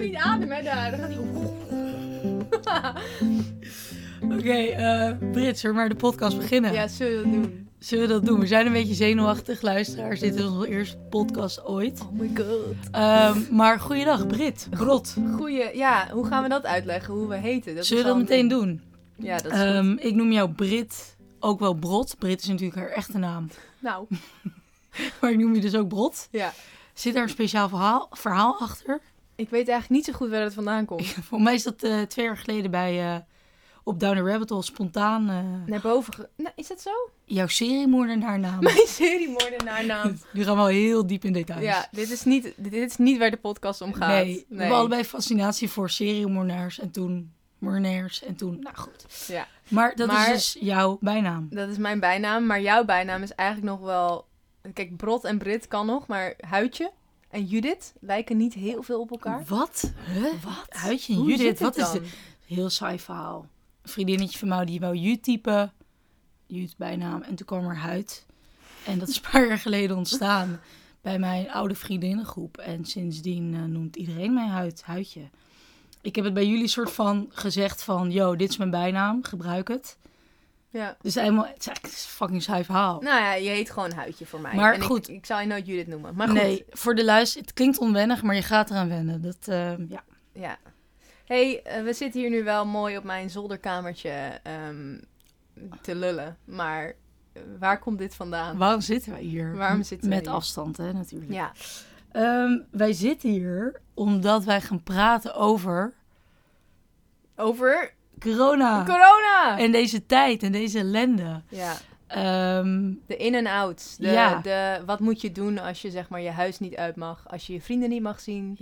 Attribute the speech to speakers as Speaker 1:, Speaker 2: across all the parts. Speaker 1: niet ademen, hè, daar. Dan gaat hij...
Speaker 2: Oké, eh, Brit, zullen we maar de podcast beginnen?
Speaker 1: Ja, zullen we dat doen?
Speaker 2: Zullen we dat doen? We zijn een beetje zenuwachtig, luisteraars. Dit is onze eerste podcast ooit.
Speaker 1: Oh my god.
Speaker 2: Ehm, maar goeiedag, Brit. Brot.
Speaker 1: Goeie... Ja, hoe gaan we dat uitleggen? Hoe we heten? Dat
Speaker 2: Zullen we
Speaker 1: is wel
Speaker 2: dat
Speaker 1: een
Speaker 2: meteen doen?
Speaker 1: ding. Ja, dat is goed.
Speaker 2: Ehm, ik noem jou Brit, ook wel Brot. Brit is natuurlijk haar echte naam.
Speaker 1: Nou,
Speaker 2: Maar ik noem je dus ook Brot.
Speaker 1: ja.
Speaker 2: Zit daar een speciaal verhaal, verhaal achter?
Speaker 1: Ik weet eigenlijk niet zo goed waar dat vandaan komt.
Speaker 2: Voor mij is dat eh, twee jaar geleden bij... eh, op Down the Rabbit Hole spontaan eh,
Speaker 1: Naar boven... Ge... Nou, is dat zo?
Speaker 2: jouw seriemoordenaar naam.
Speaker 1: Mijn seriemoordenaar naam.
Speaker 2: Nu gaan we al heel diep in details.
Speaker 1: Ja, dit is, niet, dit is niet waar de podcast om gaat.
Speaker 2: Nee, we hebben allebei fascinatie voor seriemoordenaars en toen moordenaars en toen, nou goed.
Speaker 1: Ja.
Speaker 2: Maar dat
Speaker 1: Maar-
Speaker 2: is dus jouw bijnaam.
Speaker 1: Dat is mijn bijnaam, maar jouw bijnaam is eigenlijk nog wel... Kijk, Brot en Brit kan nog, maar Huidje en Judith lijken niet heel veel op elkaar.
Speaker 2: Wat? Huh? Wat? Huidje en
Speaker 1: Hoe zit
Speaker 2: Judith,
Speaker 1: het
Speaker 2: wat is
Speaker 1: dan?
Speaker 2: dit? Heel saai verhaal. Een vriendinnetje van mij die wou Jut typen, Jut bijnaam, en toen kwam er Huid. En dat is een paar jaar geleden ontstaan bij mijn oude vriendinnengroep. En sindsdien eh, noemt iedereen mij Huid, Huidje. Ik heb het bij jullie soort van gezegd van, yo, dit is mijn bijnaam, gebruik het.
Speaker 1: Ja.
Speaker 2: Dus helemaal, het is eigenlijk een fucking saai verhaal.
Speaker 1: Nou ja, je heet gewoon Huidje voor mij.
Speaker 2: Oh. Maar
Speaker 1: En
Speaker 2: goed.
Speaker 1: Ik, ik zal je nooit Judith noemen, maar goed.
Speaker 2: Nee, voor de luister, het klinkt onwennig, maar je gaat eraan wennen. Dat, eh, ja.
Speaker 1: Ja. hey, eh, we zitten hier nu wel mooi op mijn zolderkamertje ehm, te lullen, maar eh, waar komt dit vandaan?
Speaker 2: Waarom zitten wij hier?
Speaker 1: Waarom zitten we
Speaker 2: Met
Speaker 1: hier?
Speaker 2: afstand, hè, natuurlijk.
Speaker 1: Ja,
Speaker 2: Ehm, wij zitten hier omdat wij gaan praten over
Speaker 1: over
Speaker 2: corona.
Speaker 1: corona!
Speaker 2: Ah. En deze tijd en deze ellende.
Speaker 1: Ja,
Speaker 2: Ehm,
Speaker 1: de in- en outs. De,
Speaker 2: Ja.
Speaker 1: de, wat moet je doen als je zeg maar je huis niet uit mag, als je je vrienden niet mag zien,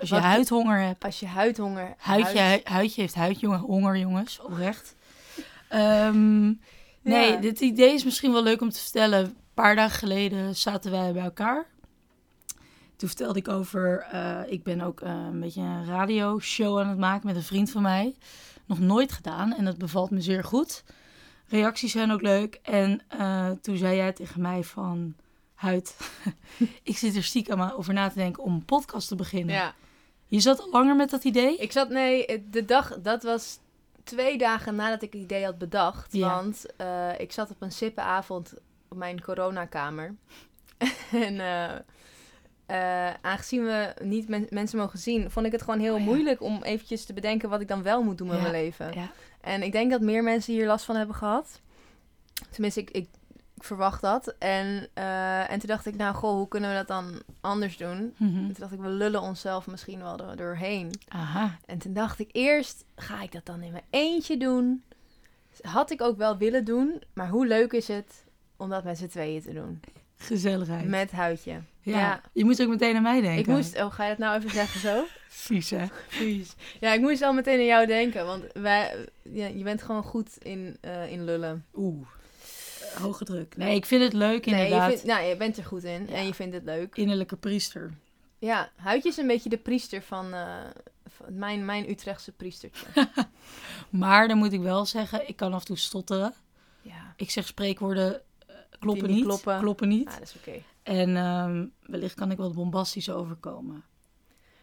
Speaker 2: als je
Speaker 1: Wat-
Speaker 2: huidhonger hebt.
Speaker 1: Als je huidhonger...
Speaker 2: Huidje,
Speaker 1: huid-
Speaker 2: hui- huidje heeft huidjongen, honger, jongens. Oprecht. Ehm, nee,
Speaker 1: Ja.
Speaker 2: dit idee is misschien wel leuk om te vertellen. Een paar dagen geleden zaten wij bij elkaar. Toen vertelde ik over... eh, ik ben ook eh, een beetje een radioshow aan het maken met een vriend van mij. Nog nooit gedaan en dat bevalt me zeer goed. Reacties zijn ook leuk. En eh, toen zei jij tegen mij van... Huid, ik zit er stiekem aan over na te denken om een podcast te beginnen.
Speaker 1: Ja,
Speaker 2: Je zat al langer met dat idee?
Speaker 1: ik zat... Nee, het- de dag... Dat was twee dagen nadat ik het idee had bedacht.
Speaker 2: Ja.
Speaker 1: Want eh, ik zat op een sippenavond op mijn coronakamer. en eh, eh, aangezien we niet men- mensen mogen zien... vond ik het gewoon heel
Speaker 2: Oh ja.
Speaker 1: moeilijk om eventjes te bedenken... wat ik dan wel moet doen met
Speaker 2: Ja,
Speaker 1: mijn leven.
Speaker 2: ja.
Speaker 1: En ik denk dat meer mensen hier last van hebben gehad. Tenminste, ik... ik ik verwacht dat. En, eh, en toen dacht ik, nou goh, hoe kunnen we dat dan anders doen? En
Speaker 2: Mhm.
Speaker 1: toen dacht ik, we lullen onszelf misschien wel er doorheen.
Speaker 2: Aha.
Speaker 1: En toen dacht ik eerst, ga ik dat dan in mijn eentje doen? Had ik ook wel willen doen, maar hoe leuk is het om dat met z'n tweeën te doen?
Speaker 2: Gezelligheid.
Speaker 1: Met huidje.
Speaker 2: ja.
Speaker 1: ja.
Speaker 2: Je moest ook meteen aan mij denken.
Speaker 1: Ik moest, oh ga je dat nou even zeggen zo?
Speaker 2: Vies, hè?
Speaker 1: Precies. Ja, ik moest al meteen aan jou denken, want wij, ja, je bent gewoon goed in, eh, in lullen.
Speaker 2: Oeh. Hoge druk. Nee, ik vind het leuk,
Speaker 1: Eh, Nee, je,
Speaker 2: inderdaad.
Speaker 1: vindt- nou, je bent er goed in
Speaker 2: Ja.
Speaker 1: en je vindt het leuk.
Speaker 2: Innerlijke priester.
Speaker 1: Ja, huidje is een beetje de priester van, eh, van mijn, mijn Utrechtse priestertje.
Speaker 2: Maar dan moet ik wel zeggen, ik kan af en toe stotteren.
Speaker 1: ja,
Speaker 2: Ik zeg spreekwoorden eh, kloppen
Speaker 1: niet
Speaker 2: niet,
Speaker 1: kloppen.
Speaker 2: niet.
Speaker 1: ah, dat is oké.
Speaker 2: En ehm, wellicht kan ik wat bombastisch overkomen.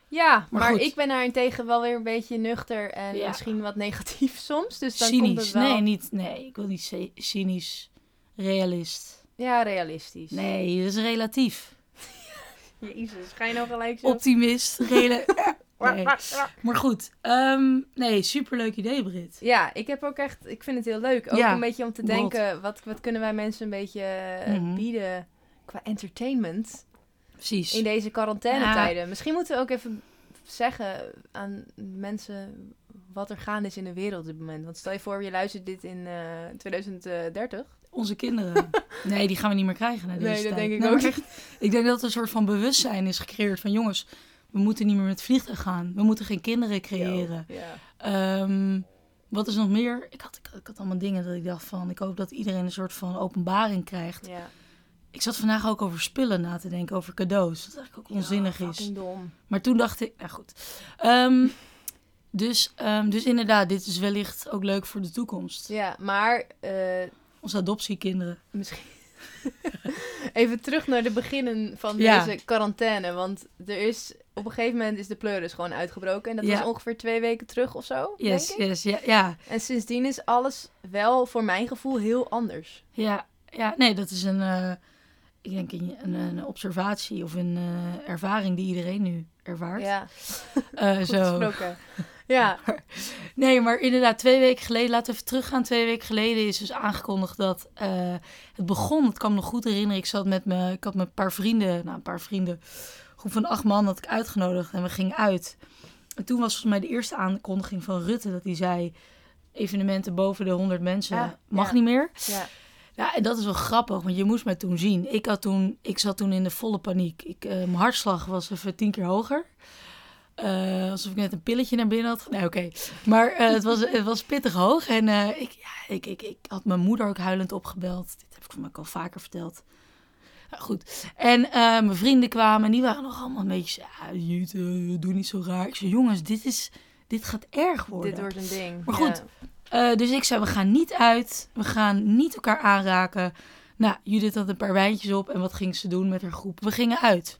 Speaker 1: Ja,
Speaker 2: Maar
Speaker 1: maar,
Speaker 2: goed.
Speaker 1: ik ben daarentegen wel weer een beetje nuchter en
Speaker 2: Ja.
Speaker 1: misschien wat negatief soms. Dus dan
Speaker 2: cynisch.
Speaker 1: komt het wel...
Speaker 2: Nee, niet. Nee, ik wil niet ce- cynisch. Realist.
Speaker 1: Ja, realistisch.
Speaker 2: Nee, dat is relatief.
Speaker 1: Jezus, ga je nou gelijk zo...
Speaker 2: Optimist. Rela nee. Maar goed, ehm, nee, superleuk idee, Brit.
Speaker 1: Ja, ik heb ook echt... Ik vind het heel leuk. Ook
Speaker 2: Ja,
Speaker 1: een beetje om te
Speaker 2: God.
Speaker 1: denken, wat, wat kunnen wij mensen een beetje eh,
Speaker 2: Mhm.
Speaker 1: bieden qua entertainment
Speaker 2: Precies.
Speaker 1: in deze quarantainetijden. Misschien moeten we ook even zeggen aan mensen wat er gaande is in de wereld op dit moment. Want stel je voor, je luistert dit in eh, 2030.
Speaker 2: Onze kinderen. Nee, die gaan we niet meer krijgen. Hè, deze
Speaker 1: Nee, dat
Speaker 2: dus tijd.
Speaker 1: denk ik
Speaker 2: Nee,
Speaker 1: ook
Speaker 2: maar echt, Ik denk dat er een soort van bewustzijn is gecreëerd van jongens, we moeten niet meer met vliegtuig gaan. We moeten geen kinderen creëren.
Speaker 1: Ja.
Speaker 2: Ehm, wat is nog meer? Ik had, ik, had- ik had allemaal dingen dat ik dacht van, ik hoop dat iedereen een soort van openbaring krijgt.
Speaker 1: ja.
Speaker 2: Ik zat vandaag ook over spullen na te denken, over cadeaus. Dat eigenlijk ook onzinnig
Speaker 1: Ja,
Speaker 2: is.
Speaker 1: fucking dom.
Speaker 2: Maar toen dacht ik, nou goed. Ehm, dus, ehm, dus inderdaad, dit is wellicht ook leuk voor de toekomst.
Speaker 1: Ja, maar eh,
Speaker 2: Onze adoptiekinderen.
Speaker 1: misschien. Even terug naar de beginnen van
Speaker 2: Ja.
Speaker 1: deze quarantaine. Want er is op een gegeven moment is de pleuris gewoon uitgebroken. En dat
Speaker 2: Ja.
Speaker 1: was ongeveer twee weken terug of zo,
Speaker 2: Yes,
Speaker 1: denk ik.
Speaker 2: yes, ja, ja.
Speaker 1: En sindsdien is alles wel voor mijn gevoel heel anders.
Speaker 2: Ja, ja nee, dat is een, eh, ik denk een, een, een observatie of een eh, ervaring die iedereen nu ervaart.
Speaker 1: Ja,
Speaker 2: Eh,
Speaker 1: goed
Speaker 2: zo.
Speaker 1: gesproken. Ja,
Speaker 2: Nee, maar inderdaad, twee weken geleden, laten we even teruggaan. Twee weken geleden is dus aangekondigd dat eh, het begon. Dat kan me nog goed herinneren. Ik zat met me, ik had met een paar vrienden, nou een paar vrienden, een groep van acht man had ik uitgenodigd en we gingen uit. En toen was volgens mij de eerste aankondiging van Rutte dat hij zei: evenementen boven de 100 mensen
Speaker 1: Ja,
Speaker 2: mag
Speaker 1: ja.
Speaker 2: niet meer.
Speaker 1: ja,
Speaker 2: Ja, en dat is wel grappig, want je moest mij toen zien. Ik, had toen, ik zat toen in de volle paniek. Ik, eh, mijn hartslag was even tien keer hoger. Eh, alsof ik net een pilletje naar binnen had. ge- Nee, oké. Maar eh, het, was, het was pittig hoog. En eh, ik, ja, ik, ik, ik had mijn moeder ook huilend opgebeld. Dit heb ik van ook al vaker verteld. Nou, goed. En eh, mijn vrienden kwamen en die waren nog allemaal een beetje... zo, "Ah, Jut, eh, doe niet zo raar. Ik zei, jongens, dit, is, dit gaat erg worden.
Speaker 1: dit wordt een ding.
Speaker 2: Maar
Speaker 1: Ja.
Speaker 2: goed, Eh, dus ik zei, we gaan niet uit. We gaan niet elkaar aanraken. Nou, Judith had een paar wijntjes op. En wat ging ze doen met haar groep? We gingen uit.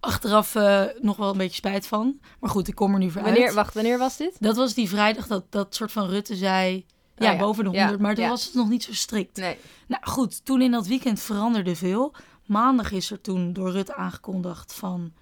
Speaker 2: Achteraf eh, nog wel een beetje spijt van. Maar goed, ik kom er nu voor
Speaker 1: Wanneer,
Speaker 2: uit.
Speaker 1: wacht, wanneer was dit?
Speaker 2: Dat was die vrijdag dat dat soort van Rutte zei... Ja,
Speaker 1: Oh ja.
Speaker 2: boven de
Speaker 1: Ja,
Speaker 2: 100, maar toen
Speaker 1: ja.
Speaker 2: was het nog niet zo strikt.
Speaker 1: Nee.
Speaker 2: Nou goed, toen in dat weekend veranderde veel. Maandag is er toen door Rutte aangekondigd van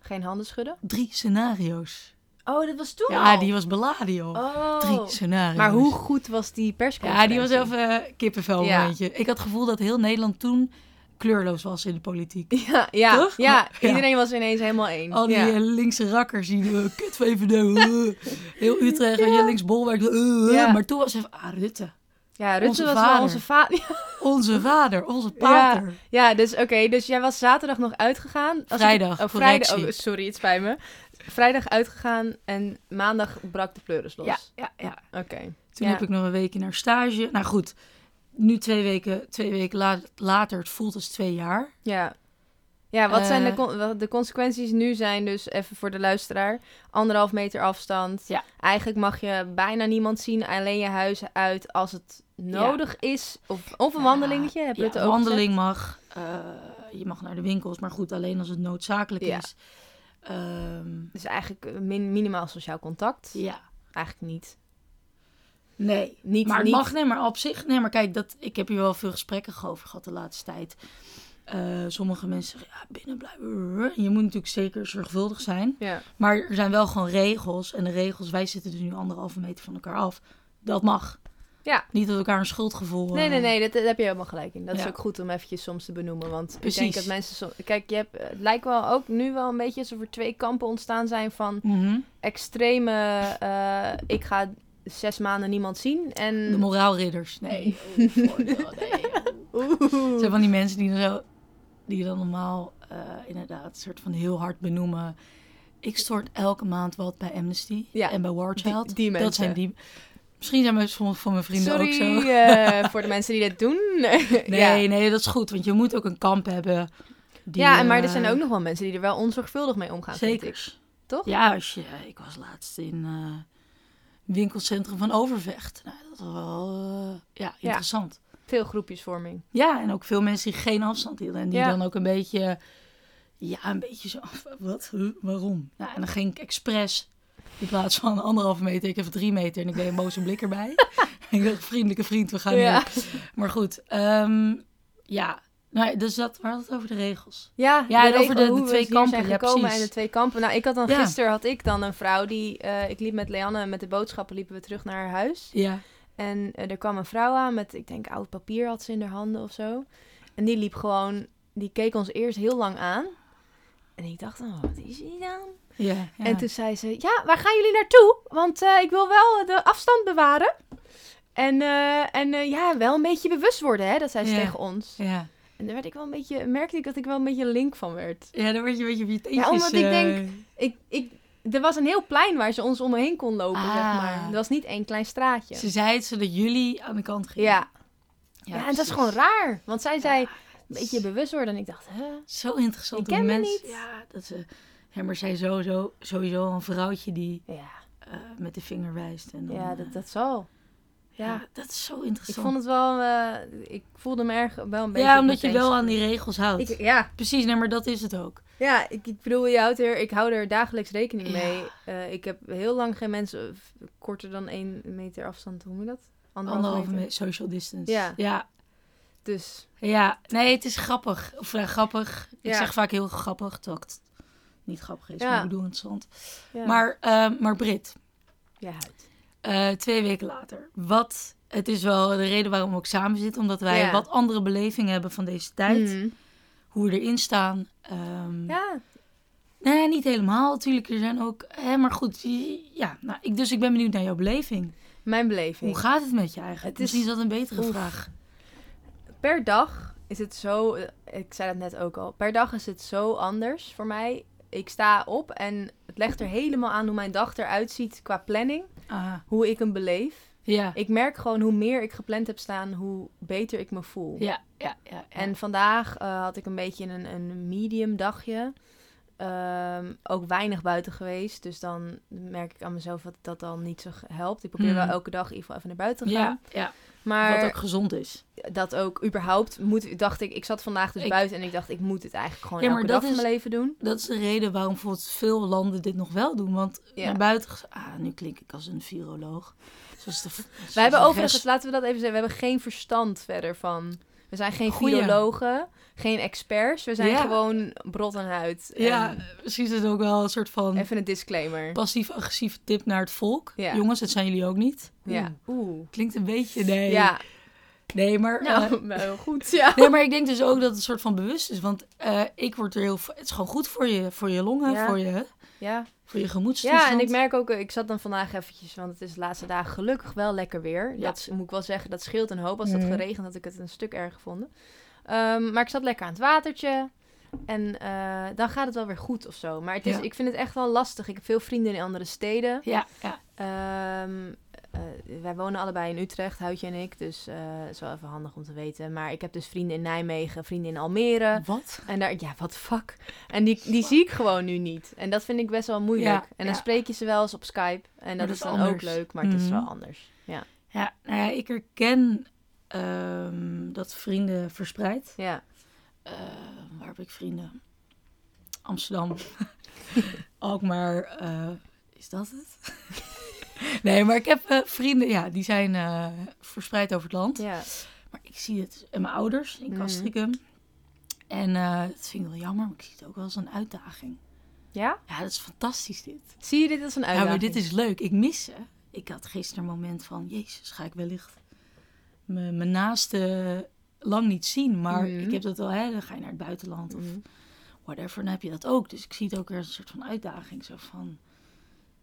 Speaker 1: Geen handen schudden?
Speaker 2: drie scenario's.
Speaker 1: Oh, dat was toen
Speaker 2: Ja,
Speaker 1: al?
Speaker 2: die was beladen, joh.
Speaker 1: Oh.
Speaker 2: Drie scenario's.
Speaker 1: Maar hoe goed was die persconferentie?
Speaker 2: Ja, die was even eh, kippenvel
Speaker 1: Ja.
Speaker 2: momentje. Ik had het gevoel dat heel Nederland toen kleurloos was in de politiek.
Speaker 1: Ja, ja,
Speaker 2: Toch?
Speaker 1: ja,
Speaker 2: Ja.
Speaker 1: iedereen was ineens helemaal één.
Speaker 2: Al die
Speaker 1: ja.
Speaker 2: eh, linkse rakkers die eh, kut VVD, eh, heel Utrecht en je links Bolwerk. eh, eh.
Speaker 1: Ja.
Speaker 2: Maar toen was even, ah Rutte,
Speaker 1: ja, Rutte
Speaker 2: onze
Speaker 1: was
Speaker 2: vader.
Speaker 1: wel onze vader.
Speaker 2: onze vader, onze pater.
Speaker 1: Ja, dus oké, dus jij was zaterdag nog uitgegaan. Als ik-
Speaker 2: Vrijdag,
Speaker 1: oh, vrijdag.
Speaker 2: correctie.
Speaker 1: Oh, sorry, het spijt me. Vrijdag uitgegaan en maandag brak de pleuris los.
Speaker 2: Ja, ja, ja.
Speaker 1: Oké.
Speaker 2: Toen
Speaker 1: Ja.
Speaker 2: heb ik nog een weekje naar stage. Nou goed, nu twee weken, twee weken la- later, het voelt als twee jaar.
Speaker 1: Ja. Ja, wat zijn de,
Speaker 2: Eh.
Speaker 1: con- wat de consequenties nu zijn dus even voor de luisteraar. Anderhalf meter afstand.
Speaker 2: Ja.
Speaker 1: Eigenlijk mag je bijna niemand zien, alleen je huis uit als het nodig is. Of, of een
Speaker 2: Ja,
Speaker 1: wandelingetje, heb je
Speaker 2: Ja,
Speaker 1: het ook
Speaker 2: wandeling mag. eh, je mag naar de winkels, maar goed, alleen als het noodzakelijk
Speaker 1: Ja.
Speaker 2: is. Ehm,
Speaker 1: gezegd? Dus eigenlijk eh, min, minimaal sociaal contact.
Speaker 2: ja.
Speaker 1: Eigenlijk niet.
Speaker 2: Nee.
Speaker 1: Niet,
Speaker 2: maar het
Speaker 1: niet
Speaker 2: mag, nee, maar op zich. Nee, maar kijk, dat, ik heb hier wel veel gesprekken over gehad de laatste tijd. Eh, sommige mensen zeggen, ja, binnen blijven. En Je moet natuurlijk zeker zorgvuldig zijn.
Speaker 1: Ja,
Speaker 2: Maar er zijn wel gewoon regels. En de regels, wij zitten dus nu anderhalve meter van elkaar af. Dat mag.
Speaker 1: Ja.
Speaker 2: Niet dat we elkaar een schuldgevoel...
Speaker 1: nee,
Speaker 2: eh,
Speaker 1: nee, nee, dat, dat heb je helemaal gelijk in. Dat is
Speaker 2: Ja.
Speaker 1: ook goed om eventjes soms te benoemen. Want ik
Speaker 2: Precies.
Speaker 1: denk dat mensen... som- Kijk, je hebt, het lijkt wel ook nu wel een beetje alsof er twee kampen ontstaan zijn van...
Speaker 2: mhm.
Speaker 1: extreme. eh, ik ga zes maanden niemand zien. En.
Speaker 2: De moraalridders. Mm. Nee. oh, voordeel, nee. Het zijn
Speaker 1: Oeh.
Speaker 2: van die mensen die dan, zo, die dan normaal eh, inderdaad een soort van heel hard benoemen. Ik stort elke maand wat bij Amnesty
Speaker 1: Ja,
Speaker 2: en bij War
Speaker 1: die-
Speaker 2: Child.
Speaker 1: die mensen.
Speaker 2: Dat zijn die. Misschien zijn we sommige van mijn vrienden ook
Speaker 1: Sorry
Speaker 2: zo.
Speaker 1: eh, voor de mensen die dat doen.
Speaker 2: Nee,
Speaker 1: ja.
Speaker 2: nee, dat is goed, want je moet ook een kamp hebben. Die,
Speaker 1: ja, en maar er
Speaker 2: eh,
Speaker 1: zijn ook nog wel mensen die er wel onzorgvuldig mee omgaan. vind ik.
Speaker 2: Zekers.
Speaker 1: toch?
Speaker 2: Ja, als je, ik was laatst in eh, het winkelcentrum van Overvecht. Nou, dat was wel eh, ja, interessant.
Speaker 1: Veel groepjesvorming.
Speaker 2: Ja, en ook veel mensen die geen afstand hielden. En die
Speaker 1: Ja.
Speaker 2: dan ook een beetje... Ja, een beetje zo... Wat? Huh? Waarom? Nou, en dan ging ik expres... In plaats van anderhalve meter, ik heb drie meter. En ik deed een boze blik erbij. en ik dacht, vriendelijke vriend, we gaan
Speaker 1: ja.
Speaker 2: nu. Maar goed, ehm, ja. Nou, dus dat, waar had het over de regels?
Speaker 1: Ja,
Speaker 2: Ja, en
Speaker 1: de
Speaker 2: over de-
Speaker 1: regel,
Speaker 2: de
Speaker 1: hoe we
Speaker 2: twee
Speaker 1: hier
Speaker 2: kampen,
Speaker 1: Zijn
Speaker 2: ja,
Speaker 1: gekomen
Speaker 2: precies.
Speaker 1: en de twee kampen. Nou, ik had dan
Speaker 2: Ja.
Speaker 1: gisteren had ik dan een vrouw die. eh, ik liep met Leanne en met de boodschappen liepen we terug naar haar huis.
Speaker 2: Ja.
Speaker 1: En eh, er kwam een vrouw aan met, ik denk, oud papier had ze in haar handen of zo. En die liep gewoon, die keek ons eerst heel lang aan. En ik dacht, oh, wat is die dan?
Speaker 2: Ja,
Speaker 1: En toen zei ze, ja, waar gaan jullie naartoe? Want eh, ik wil wel de afstand bewaren. En, eh, en eh, ja, wel een beetje bewust worden, hè? Dat zei ze
Speaker 2: Ja.
Speaker 1: tegen ons.
Speaker 2: ja.
Speaker 1: En daar werd ik wel een beetje, merkte ik dat ik wel een beetje link van werd.
Speaker 2: ja, dan word je een beetje op je teentjes...
Speaker 1: Ja, omdat ik
Speaker 2: eh,
Speaker 1: denk, Ik, ik, er was een heel plein waar ze ons omheen kon lopen, zeg
Speaker 2: Ah.
Speaker 1: maar. Er was niet één klein straatje.
Speaker 2: Ze zei het zodat jullie aan de kant gingen.
Speaker 1: Ja, ja, en dat is
Speaker 2: precies.
Speaker 1: gewoon raar. Want zij zei, een
Speaker 2: dat is-
Speaker 1: beetje bewust worden. En ik dacht, hè?
Speaker 2: Zo interessant.
Speaker 1: Ik
Speaker 2: hoe
Speaker 1: ken me
Speaker 2: mensen-
Speaker 1: niet.
Speaker 2: Ja, dat ze... Ja, maar zij sowieso, sowieso al een vrouwtje die
Speaker 1: Ja,
Speaker 2: eh, met de vinger wijst. En dan,
Speaker 1: ja
Speaker 2: eh,
Speaker 1: dat, dat zal. Ja,
Speaker 2: ja, dat is zo
Speaker 1: ik
Speaker 2: interessant.
Speaker 1: vond het wel... eh, ik voelde me erg wel een beetje...
Speaker 2: ja,
Speaker 1: op
Speaker 2: omdat je
Speaker 1: mijn
Speaker 2: wel
Speaker 1: teens.
Speaker 2: aan die regels houdt.
Speaker 1: Ik, ja,
Speaker 2: Precies, nee, maar dat is het ook.
Speaker 1: Ja, ik, ik bedoel, je houdt er, ik hou er dagelijks rekening
Speaker 2: Ja.
Speaker 1: mee. Eh, ik heb heel lang geen mensen eh, f- korter dan één meter afstand. Hoe moet dat?
Speaker 2: Anderhalve meter social distance.
Speaker 1: Ja.
Speaker 2: ja.
Speaker 1: Dus
Speaker 2: Ja. nee, het is grappig. Of eh, grappig. Ik
Speaker 1: Ja.
Speaker 2: zeg vaak heel grappig, terwijl het niet grappig is,
Speaker 1: Ja.
Speaker 2: maar ik bedoel interessant.
Speaker 1: ja.
Speaker 2: Maar, eh, maar Brit,
Speaker 1: Je huid.
Speaker 2: eh, twee weken later. Wat, het is wel de reden waarom we ook samen zitten, omdat wij
Speaker 1: Ja.
Speaker 2: wat andere belevingen hebben van deze tijd.
Speaker 1: Mhm.
Speaker 2: Hoe we erin staan. Ehm,
Speaker 1: Ja,
Speaker 2: Nee, niet helemaal. Natuurlijk, er zijn ook... Hè, maar goed, je- ja. Nou, ik, dus ik ben benieuwd naar jouw beleving.
Speaker 1: mijn
Speaker 2: Hoe
Speaker 1: beleving.
Speaker 2: gaat het met je eigenlijk?
Speaker 1: Het is-
Speaker 2: Misschien is dat een betere
Speaker 1: Oef.
Speaker 2: vraag.
Speaker 1: Per dag is het zo, eh, ik zei dat net ook al, per dag is het zo anders voor mij. Ik sta op en het legt er helemaal aan hoe mijn dag eruit ziet qua planning,
Speaker 2: Ah,
Speaker 1: hoe ik hem beleef.
Speaker 2: ja.
Speaker 1: Ik merk gewoon hoe meer ik gepland heb staan, hoe beter ik me voel.
Speaker 2: Ja, ja, ja. ja.
Speaker 1: En vandaag eh, had ik een beetje een, een medium dagje. Ehm, ook weinig buiten geweest. Dus dan merk ik aan mezelf dat dat dan niet zo ge- helpt. Ik probeer
Speaker 2: Hmm.
Speaker 1: wel elke dag in ieder geval even naar buiten te gaan.
Speaker 2: ja, ja.
Speaker 1: maar
Speaker 2: Wat ook gezond is.
Speaker 1: dat ook überhaupt moet, dacht ik, ik zat vandaag dus
Speaker 2: Ik-
Speaker 1: buiten en ik dacht, ik moet het eigenlijk gewoon
Speaker 2: Ja, maar
Speaker 1: elke
Speaker 2: dat
Speaker 1: dag van mijn leven doen.
Speaker 2: Dat is de reden waarom bijvoorbeeld veel landen dit nog wel doen. Want
Speaker 1: Ja.
Speaker 2: naar buiten... ges- Ah, nu klink ik als een viroloog. Zoals de, zoals
Speaker 1: Wij hebben
Speaker 2: de
Speaker 1: overigens,
Speaker 2: rest-
Speaker 1: laten we dat even zeggen, we hebben geen verstand verder van. We zijn geen
Speaker 2: Goeie.
Speaker 1: virologen, geen experts. We zijn
Speaker 2: Ja.
Speaker 1: gewoon brot en huid.
Speaker 2: Ja,
Speaker 1: En
Speaker 2: misschien is het ook wel een soort van
Speaker 1: even een disclaimer.
Speaker 2: passief-agressieve tip naar het volk.
Speaker 1: Ja.
Speaker 2: Jongens, dat zijn jullie ook niet.
Speaker 1: Ja.
Speaker 2: Oeh,
Speaker 1: Oeh.
Speaker 2: Klinkt een beetje... Nee,
Speaker 1: Ja,
Speaker 2: nee maar... eh,
Speaker 1: nou, wel goed. Ja.
Speaker 2: Nee, maar ik denk dus ook dat het een soort van bewust is. Want eh, ik word er heel... v- Het is gewoon goed voor je, voor je longen,
Speaker 1: Ja.
Speaker 2: voor, je,
Speaker 1: Ja.
Speaker 2: voor je gemoedstoestand.
Speaker 1: ja, en ik merk ook, eh, ik zat dan vandaag eventjes, want het is de laatste dagen gelukkig wel lekker weer.
Speaker 2: Ja.
Speaker 1: Dat is- moet ik wel zeggen, dat scheelt een hoop. Als het
Speaker 2: Mhm.
Speaker 1: had geregend had ik het een stuk erg gevonden. Ehm, maar ik zat lekker aan het watertje. En eh, dan gaat het wel weer goed of zo. Maar het is,
Speaker 2: Ja.
Speaker 1: ik vind het echt wel lastig. Ik heb veel vrienden in andere steden.
Speaker 2: Ja, ja.
Speaker 1: Ehm, eh, wij wonen allebei in Utrecht, Houtje en ik. Dus eh dat is wel even handig om te weten. Maar ik heb dus vrienden in Nijmegen, vrienden in Almere.
Speaker 2: Wat?
Speaker 1: En daar, ja, wat fuck. En die, die zie ik gewoon nu niet. En dat vind ik best wel moeilijk.
Speaker 2: Ja,
Speaker 1: en dan
Speaker 2: ja.
Speaker 1: spreek je ze wel eens op Skype. En dat,
Speaker 2: dat
Speaker 1: is
Speaker 2: is
Speaker 1: dan ook
Speaker 2: anders.
Speaker 1: leuk, maar het is
Speaker 2: Mhm.
Speaker 1: wel anders. Ja,
Speaker 2: Ja, nou ja, ik herken ehm, dat vrienden verspreid.
Speaker 1: ja.
Speaker 2: Eh, waar heb ik vrienden? Amsterdam. Alkmaar. eh is dat het? nee, maar ik heb eh, vrienden, ja, die zijn eh, verspreid over het land.
Speaker 1: ja.
Speaker 2: Maar ik zie het en mijn ouders in
Speaker 1: Mhm.
Speaker 2: Castricum. En eh, dat vind ik wel jammer, maar ik zie het ook wel als een uitdaging.
Speaker 1: Ja?
Speaker 2: Ja, dat is fantastisch dit.
Speaker 1: Zie je dit als een
Speaker 2: Ja,
Speaker 1: uitdaging?
Speaker 2: maar dit is leuk. Ik mis ze. Ik had gisteren een moment van, jezus, ga ik wellicht mijn mijn naaste lang niet zien. Maar
Speaker 1: Mhm.
Speaker 2: ik heb dat wel, hè, dan ga je naar het buitenland of
Speaker 1: Mhm.
Speaker 2: whatever, dan heb je dat ook. Dus ik zie het ook weer als een soort van uitdaging. Zo van,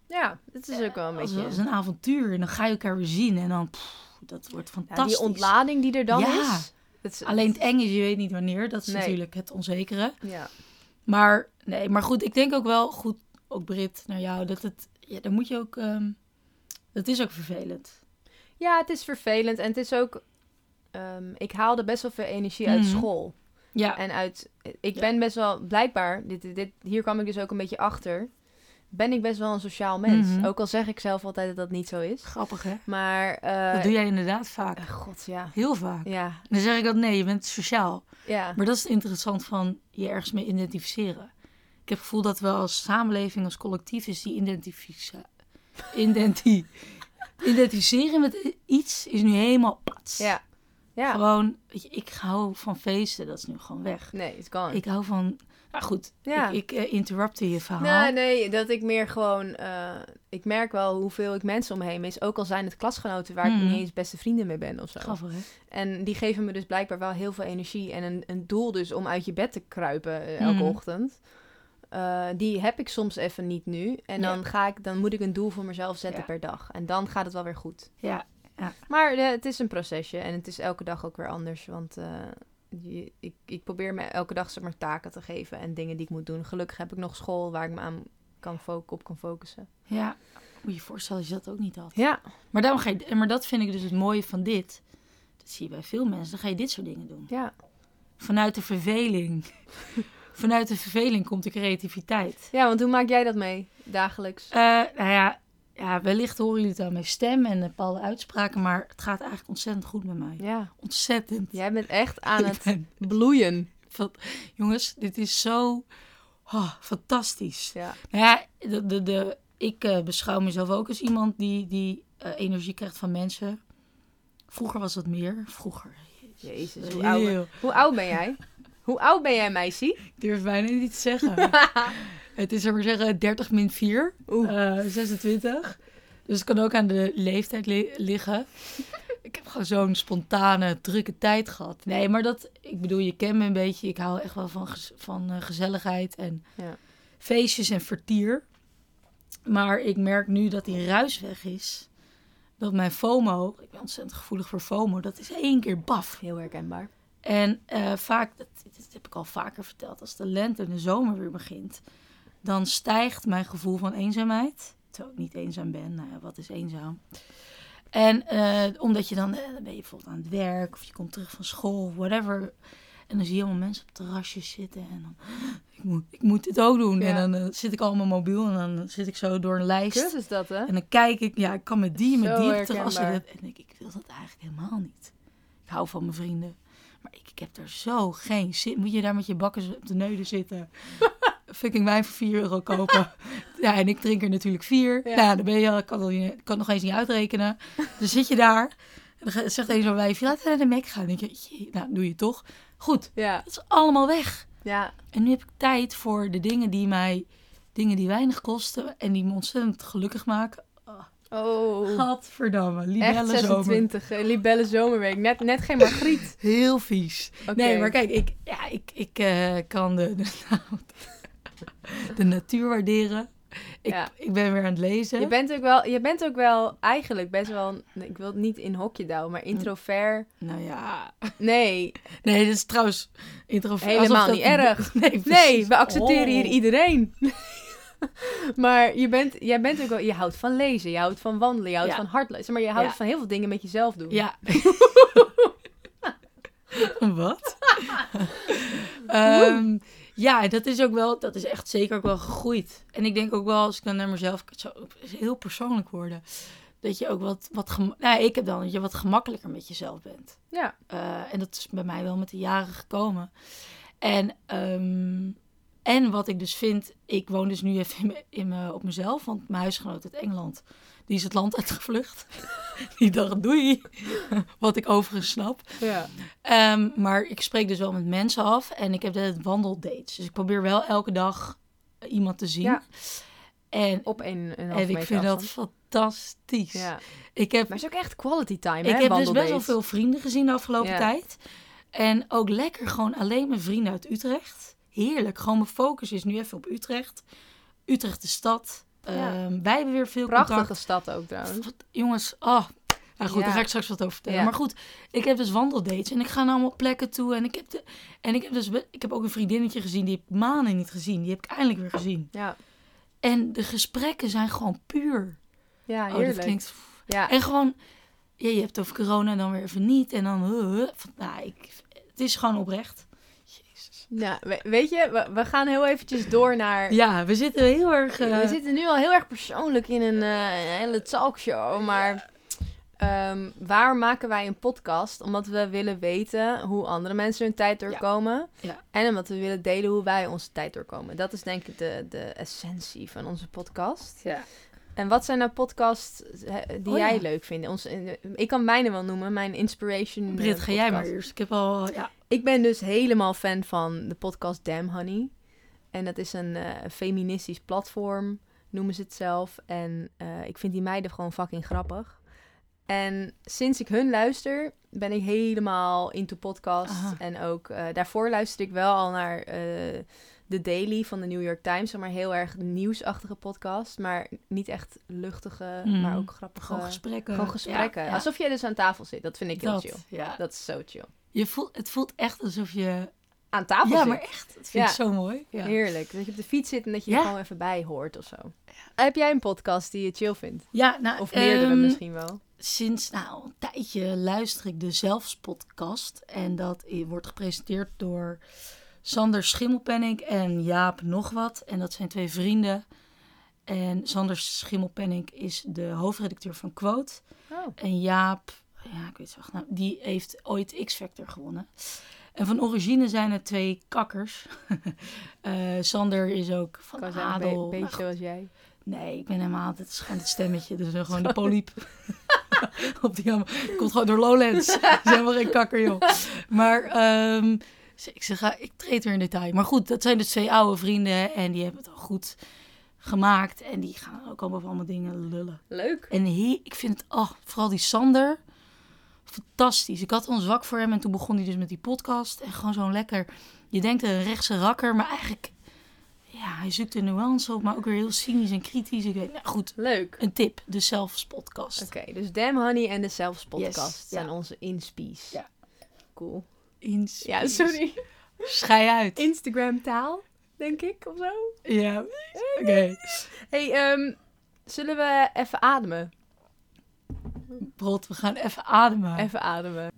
Speaker 1: Ja, het is ook wel een
Speaker 2: als,
Speaker 1: beetje...
Speaker 2: als een avontuur. En dan ga je elkaar weer zien en dan, pff, dat wordt
Speaker 1: Ja,
Speaker 2: fantastisch.
Speaker 1: die ontlading die er dan
Speaker 2: Ja.
Speaker 1: is. Dat is
Speaker 2: Alleen het eng is, je weet niet wanneer. Dat is
Speaker 1: Nee.
Speaker 2: natuurlijk het onzekere.
Speaker 1: Ja.
Speaker 2: Maar nee, maar goed, ik denk ook wel goed, ook Brit, naar jou, dat het, ja, dan moet je ook, ehm, dat is ook vervelend.
Speaker 1: ja, het is vervelend. En het is ook... ehm, ik haalde best wel veel energie uit
Speaker 2: Mhm.
Speaker 1: school.
Speaker 2: Ja,
Speaker 1: En uit, ik
Speaker 2: Ja.
Speaker 1: ben best wel, blijkbaar, dit, dit, hier kwam ik dus ook een beetje achter, ben ik best wel een sociaal mens.
Speaker 2: Mhm.
Speaker 1: Ook al zeg ik zelf altijd dat dat niet zo is.
Speaker 2: grappig hè?
Speaker 1: Maar, eh,
Speaker 2: dat doe jij inderdaad vaak,
Speaker 1: eh, god, ja.
Speaker 2: heel vaak.
Speaker 1: Ja,
Speaker 2: Dan zeg ik dat nee, je bent sociaal.
Speaker 1: ja.
Speaker 2: Maar dat is interessant van je ergens mee identificeren. Ik heb het gevoel dat we als samenleving, als collectief is die identificeren. Identi identificeren met i- iets is nu helemaal pats.
Speaker 1: Ja. ja.
Speaker 2: Gewoon, weet je, ik hou van feesten, dat is nu gewoon weg.
Speaker 1: Nee, it's gone.
Speaker 2: Ik hou van. Nou goed,
Speaker 1: Ja.
Speaker 2: ik, ik eh, interrupte je verhaal.
Speaker 1: Nou, nee, dat ik meer gewoon, eh, ik merk wel hoeveel ik mensen omheen mis. Ook al zijn het klasgenoten waar ik
Speaker 2: Mhm.
Speaker 1: niet eens beste vrienden mee ben of zo.
Speaker 2: Grappig, hè?
Speaker 1: En die geven me dus blijkbaar wel heel veel energie en een, een doel dus om uit je bed te kruipen eh, elke
Speaker 2: Mhm.
Speaker 1: ochtend. Eh, die heb ik soms even niet nu. En
Speaker 2: Ja.
Speaker 1: dan, ga ik, dan moet ik een doel voor mezelf zetten
Speaker 2: Ja.
Speaker 1: per dag. En dan gaat het wel weer goed.
Speaker 2: Ja,
Speaker 1: Maar eh, het is een procesje en het is elke dag ook weer anders. Want eh, je- ik, ik probeer me elke dag zeg maar, taken te geven en dingen die ik moet doen. Gelukkig heb ik nog school waar ik me aan kan fo- op kan focussen.
Speaker 2: ja. Moet je je voorstellen als je dat ook niet had.
Speaker 1: Ja,
Speaker 2: Maar, daarom ga je, maar dat vind ik dus het mooie van dit. Dat zie je bij veel mensen. Dan ga je dit soort dingen doen.
Speaker 1: ja,
Speaker 2: Vanuit de verveling. Vanuit de verveling komt de creativiteit.
Speaker 1: ja, want hoe maak jij dat mee dagelijks?
Speaker 2: Eh, nou ja, ja, wellicht horen jullie het aan mijn stem en bepaalde uitspraken. Maar het gaat eigenlijk ontzettend goed met mij.
Speaker 1: Ja,
Speaker 2: Ontzettend.
Speaker 1: jij bent echt aan
Speaker 2: Ik
Speaker 1: het
Speaker 2: ben-
Speaker 1: bloeien.
Speaker 2: Van- jongens, dit is zo Oh, fantastisch.
Speaker 1: Ja.
Speaker 2: Nou ja, de, de, de, ik eh, beschouw mezelf ook als iemand die, die eh, energie krijgt van mensen. Vroeger was dat meer. Vroeger.
Speaker 1: Jezus, hoe oud,
Speaker 2: Heel.
Speaker 1: hoe oud ben jij? Hoe oud ben jij, meisje?
Speaker 2: Ik durf bijna niet te zeggen. het is, zullen we zeggen, 30 min 4.
Speaker 1: Oeh.
Speaker 2: eh, 26. Dus het kan ook aan de leeftijd li- liggen. ik heb gewoon zo'n spontane, drukke tijd gehad. Nee, maar dat, ik bedoel, je kent me een beetje. Ik hou echt wel van, gez- van eh, gezelligheid en
Speaker 1: Ja.
Speaker 2: feestjes en vertier. Maar ik merk nu dat die ruis weg is. Dat mijn FOMO, ik ben ontzettend gevoelig voor FOMO, dat is één keer baf.
Speaker 1: Heel herkenbaar.
Speaker 2: En eh, vaak, dat, dat heb ik al vaker verteld, als de lente en de zomer weer begint, dan stijgt mijn gevoel van eenzaamheid. Terwijl ik niet eenzaam ben, nou ja, wat is eenzaam? En eh, omdat je dan, eh, dan ben je bijvoorbeeld aan het werk of je komt terug van school, whatever. En dan zie je allemaal mensen op terrasjes zitten en dan, ik moet, ik moet dit ook doen.
Speaker 1: Ja.
Speaker 2: En dan eh, zit ik al op mijn mobiel en dan zit ik zo door een lijst.
Speaker 1: Kus is dat, hè?
Speaker 2: En dan kijk ik, ja, ik kan met die, met
Speaker 1: Zo
Speaker 2: die op terrassen. En
Speaker 1: herkenbaar.
Speaker 2: denk ik, ik wil dat eigenlijk helemaal niet. Ik hou van mijn vrienden. Maar ik, ik heb er zo geen zin. Moet je daar met je bakkers op de neuden zitten? Fucking wijn voor 4 euro kopen. ja, en ik drink er natuurlijk vier.
Speaker 1: Ja.
Speaker 2: Nou, dan ben je, al- ik kan, al niet- ik kan nog eens niet uitrekenen. Dan zit je daar. En dan ge- zegt een zo'n wijfje, laten we naar de Mac gaan. Dan denk je, jee, nou, doe je toch. Goed,
Speaker 1: Ja.
Speaker 2: dat is allemaal weg.
Speaker 1: Ja.
Speaker 2: En nu heb ik tijd voor de dingen die mij, dingen die weinig kosten en die me ontzettend gelukkig maken.
Speaker 1: Oh.
Speaker 2: Gadverdamme,
Speaker 1: Echt
Speaker 2: libelle zomer.
Speaker 1: 26. eh, Libelle zomerweek. Net, net geen margriet.
Speaker 2: Heel vies.
Speaker 1: Oké.
Speaker 2: Nee, maar kijk, ik, ja, ik, ik eh, kan de, de, de natuur waarderen. Ik,
Speaker 1: Ja.
Speaker 2: ik ben weer aan het lezen.
Speaker 1: Je bent, ook wel, je bent ook wel eigenlijk best wel, een- ik wil het niet in hokje douwen, maar introvert.
Speaker 2: Nou ja.
Speaker 1: Nee,
Speaker 2: Nee, dit is trouwens introvert.
Speaker 1: Helemaal
Speaker 2: alsof dat-
Speaker 1: niet erg.
Speaker 2: Nee, precies.
Speaker 1: nee we accepteren
Speaker 2: Oh.
Speaker 1: hier iedereen. maar je, bent, jij bent ook wel, je houdt van lezen, je houdt van wandelen, je houdt
Speaker 2: Ja.
Speaker 1: van hardlezen. Maar je houdt
Speaker 2: Ja.
Speaker 1: van heel veel dingen met jezelf doen.
Speaker 2: Ja. Wat? Ehm, ja, dat is ook wel, dat is echt zeker ook wel gegroeid. En ik denk ook wel, als ik dan naar mezelf, het zou ook heel persoonlijk worden, dat je ook wat, wat, gema- nou, ik heb dan dat je wat gemakkelijker met jezelf bent.
Speaker 1: Ja.
Speaker 2: Eh, en dat is bij mij wel met de jaren gekomen. En, ehm, en wat ik dus vind, ik woon dus nu even in me- in me, op mezelf, want mijn huisgenoot uit Engeland, die is het land uitgevlucht. die dacht, doei. wat ik overigens snap.
Speaker 1: ja.
Speaker 2: Ehm, maar ik spreek dus wel met mensen af en ik heb de wandeldates. Dus ik probeer wel elke dag eh, iemand te zien.
Speaker 1: Ja.
Speaker 2: En,
Speaker 1: Op een, een half
Speaker 2: en ik
Speaker 1: meter
Speaker 2: vind dat
Speaker 1: afstand.
Speaker 2: fantastisch.
Speaker 1: Ja.
Speaker 2: Ik heb
Speaker 1: Maar het is ook echt quality time, hè?
Speaker 2: ik heb dus best wel
Speaker 1: wandeldates.
Speaker 2: veel vrienden gezien de afgelopen
Speaker 1: Ja.
Speaker 2: tijd. En ook lekker gewoon alleen mijn vrienden uit Utrecht. Heerlijk. Gewoon mijn focus is nu even op Utrecht. Utrecht de stad.
Speaker 1: Ja.
Speaker 2: Ehm, wij hebben weer veel
Speaker 1: Prachtige
Speaker 2: contact.
Speaker 1: stad ook trouwens.
Speaker 2: Wat- jongens, oh. Nou goed,
Speaker 1: Ja.
Speaker 2: daar ga ik straks wat over vertellen.
Speaker 1: Ja.
Speaker 2: Maar goed, ik heb dus wandeldates en ik ga naar allemaal plekken toe. En ik heb, de, en ik heb, dus, be- ik heb ook een vriendinnetje gezien, die heb ik maanden niet gezien. Die heb ik eindelijk weer gezien.
Speaker 1: Ja,
Speaker 2: En de gesprekken zijn gewoon puur.
Speaker 1: ja
Speaker 2: Oh, dat
Speaker 1: heerlijk.
Speaker 2: klinkt
Speaker 1: Ja,
Speaker 2: en gewoon, ja, je hebt het over corona en dan weer even niet. En dan, huh, huh. Van, nou, ik, het is gewoon oprecht. Jezus.
Speaker 1: ja, we- weet je, we, we gaan heel eventjes door naar...
Speaker 2: Ja, we zitten heel erg... eh,
Speaker 1: We zitten nu al heel erg persoonlijk in een, eh, een hele talkshow, maar ehm, waar maken wij een podcast? Omdat we willen weten hoe andere mensen hun tijd doorkomen.
Speaker 2: Ja.
Speaker 1: En omdat we willen delen hoe wij onze tijd doorkomen. Dat is denk ik de, de essentie van onze podcast.
Speaker 2: Ja.
Speaker 1: En wat zijn nou podcasts eh, die
Speaker 2: Oh, ja.
Speaker 1: jij leuk vindt? Ons, eh, ik kan mijne wel noemen, mijn inspiration. eh,
Speaker 2: Britt, ga jij maar
Speaker 1: podcast.
Speaker 2: eerst. Ik heb al... Ja,
Speaker 1: Ik ben dus helemaal fan van de podcast Damn Honey. En dat is een eh, feministisch platform, noemen ze het zelf. En eh, ik vind die meiden gewoon fucking grappig. En sinds ik hun luister, ben ik helemaal into podcasts.
Speaker 2: Aha.
Speaker 1: En ook eh, daarvoor luister ik wel al naar eh The Daily van de New York Times. Zeg maar heel erg nieuwsachtige podcast. Maar niet echt luchtige,
Speaker 2: Mm.
Speaker 1: maar ook grappige.
Speaker 2: gewoon gesprekken.
Speaker 1: gewoon gesprekken.
Speaker 2: Ja, ja.
Speaker 1: Alsof jij dus aan tafel zit. Dat vind ik heel
Speaker 2: dat,
Speaker 1: chill.
Speaker 2: Ja.
Speaker 1: Dat is zo chill.
Speaker 2: Je voelt, het voelt echt alsof je...
Speaker 1: Aan tafel
Speaker 2: Ja,
Speaker 1: zit.
Speaker 2: maar echt. Dat vind
Speaker 1: Ja.
Speaker 2: ik zo mooi. Ja.
Speaker 1: Heerlijk. Dat je op de fiets zit en dat je
Speaker 2: Ja.
Speaker 1: er gewoon even bij hoort of zo. Heb jij een podcast die je chill vindt?
Speaker 2: Ja, nou,
Speaker 1: Of meerdere
Speaker 2: ehm,
Speaker 1: misschien wel.
Speaker 2: Sinds nou, een tijdje luister ik de Zelfspodcast. En dat i- wordt gepresenteerd door Sander Schimmelpenninck en Jaap nog wat. En dat zijn twee vrienden. En Sander Schimmelpenninck is de hoofdredacteur van Quote.
Speaker 1: Oh.
Speaker 2: nou, En Jaap, ja, ik weet zijn achternaam, die heeft ooit X-Factor gewonnen. En van origine zijn het twee kakkers. Eh, Sander is ook van
Speaker 1: Ik wou zeggen,
Speaker 2: adel.
Speaker 1: een be-
Speaker 2: Nou,
Speaker 1: beetje zoals jij.
Speaker 2: Nee, ik ben helemaal... Het is gewoon het stemmetje. Dus gewoon de poliep. Op die jammer. Het komt gewoon door Lowlands. Ze is helemaal geen kakker, joh. Maar ehm, ze- ik, zeg, ga, ik treed weer in detail. Maar goed, dat zijn dus twee oude vrienden. En die hebben het al goed gemaakt. En die gaan ook allemaal over allemaal dingen lullen.
Speaker 1: Leuk.
Speaker 2: En he- ik vind het, oh, vooral die Sander, fantastisch. Ik had al een zwak voor hem en toen begon hij dus met die podcast. En gewoon zo'n lekker, je denkt een rechtse rakker, maar eigenlijk, ja, hij zoekt de nuance op, maar ook weer heel cynisch en kritisch. Ik weet, nou goed,
Speaker 1: Leuk.
Speaker 2: een tip, de Selfs podcast.
Speaker 1: Oké, dus Damn Honey en de Selfs podcast
Speaker 2: Yes, ja.
Speaker 1: zijn onze inspies.
Speaker 2: Ja.
Speaker 1: Cool.
Speaker 2: Ins-
Speaker 1: Ja, sorry.
Speaker 2: Schei uit.
Speaker 1: Instagram taal, denk ik, of zo.
Speaker 2: Ja, oké.
Speaker 1: hey, ehm, zullen we even ademen?
Speaker 2: Brot, we gaan even ademen.
Speaker 1: Even ademen.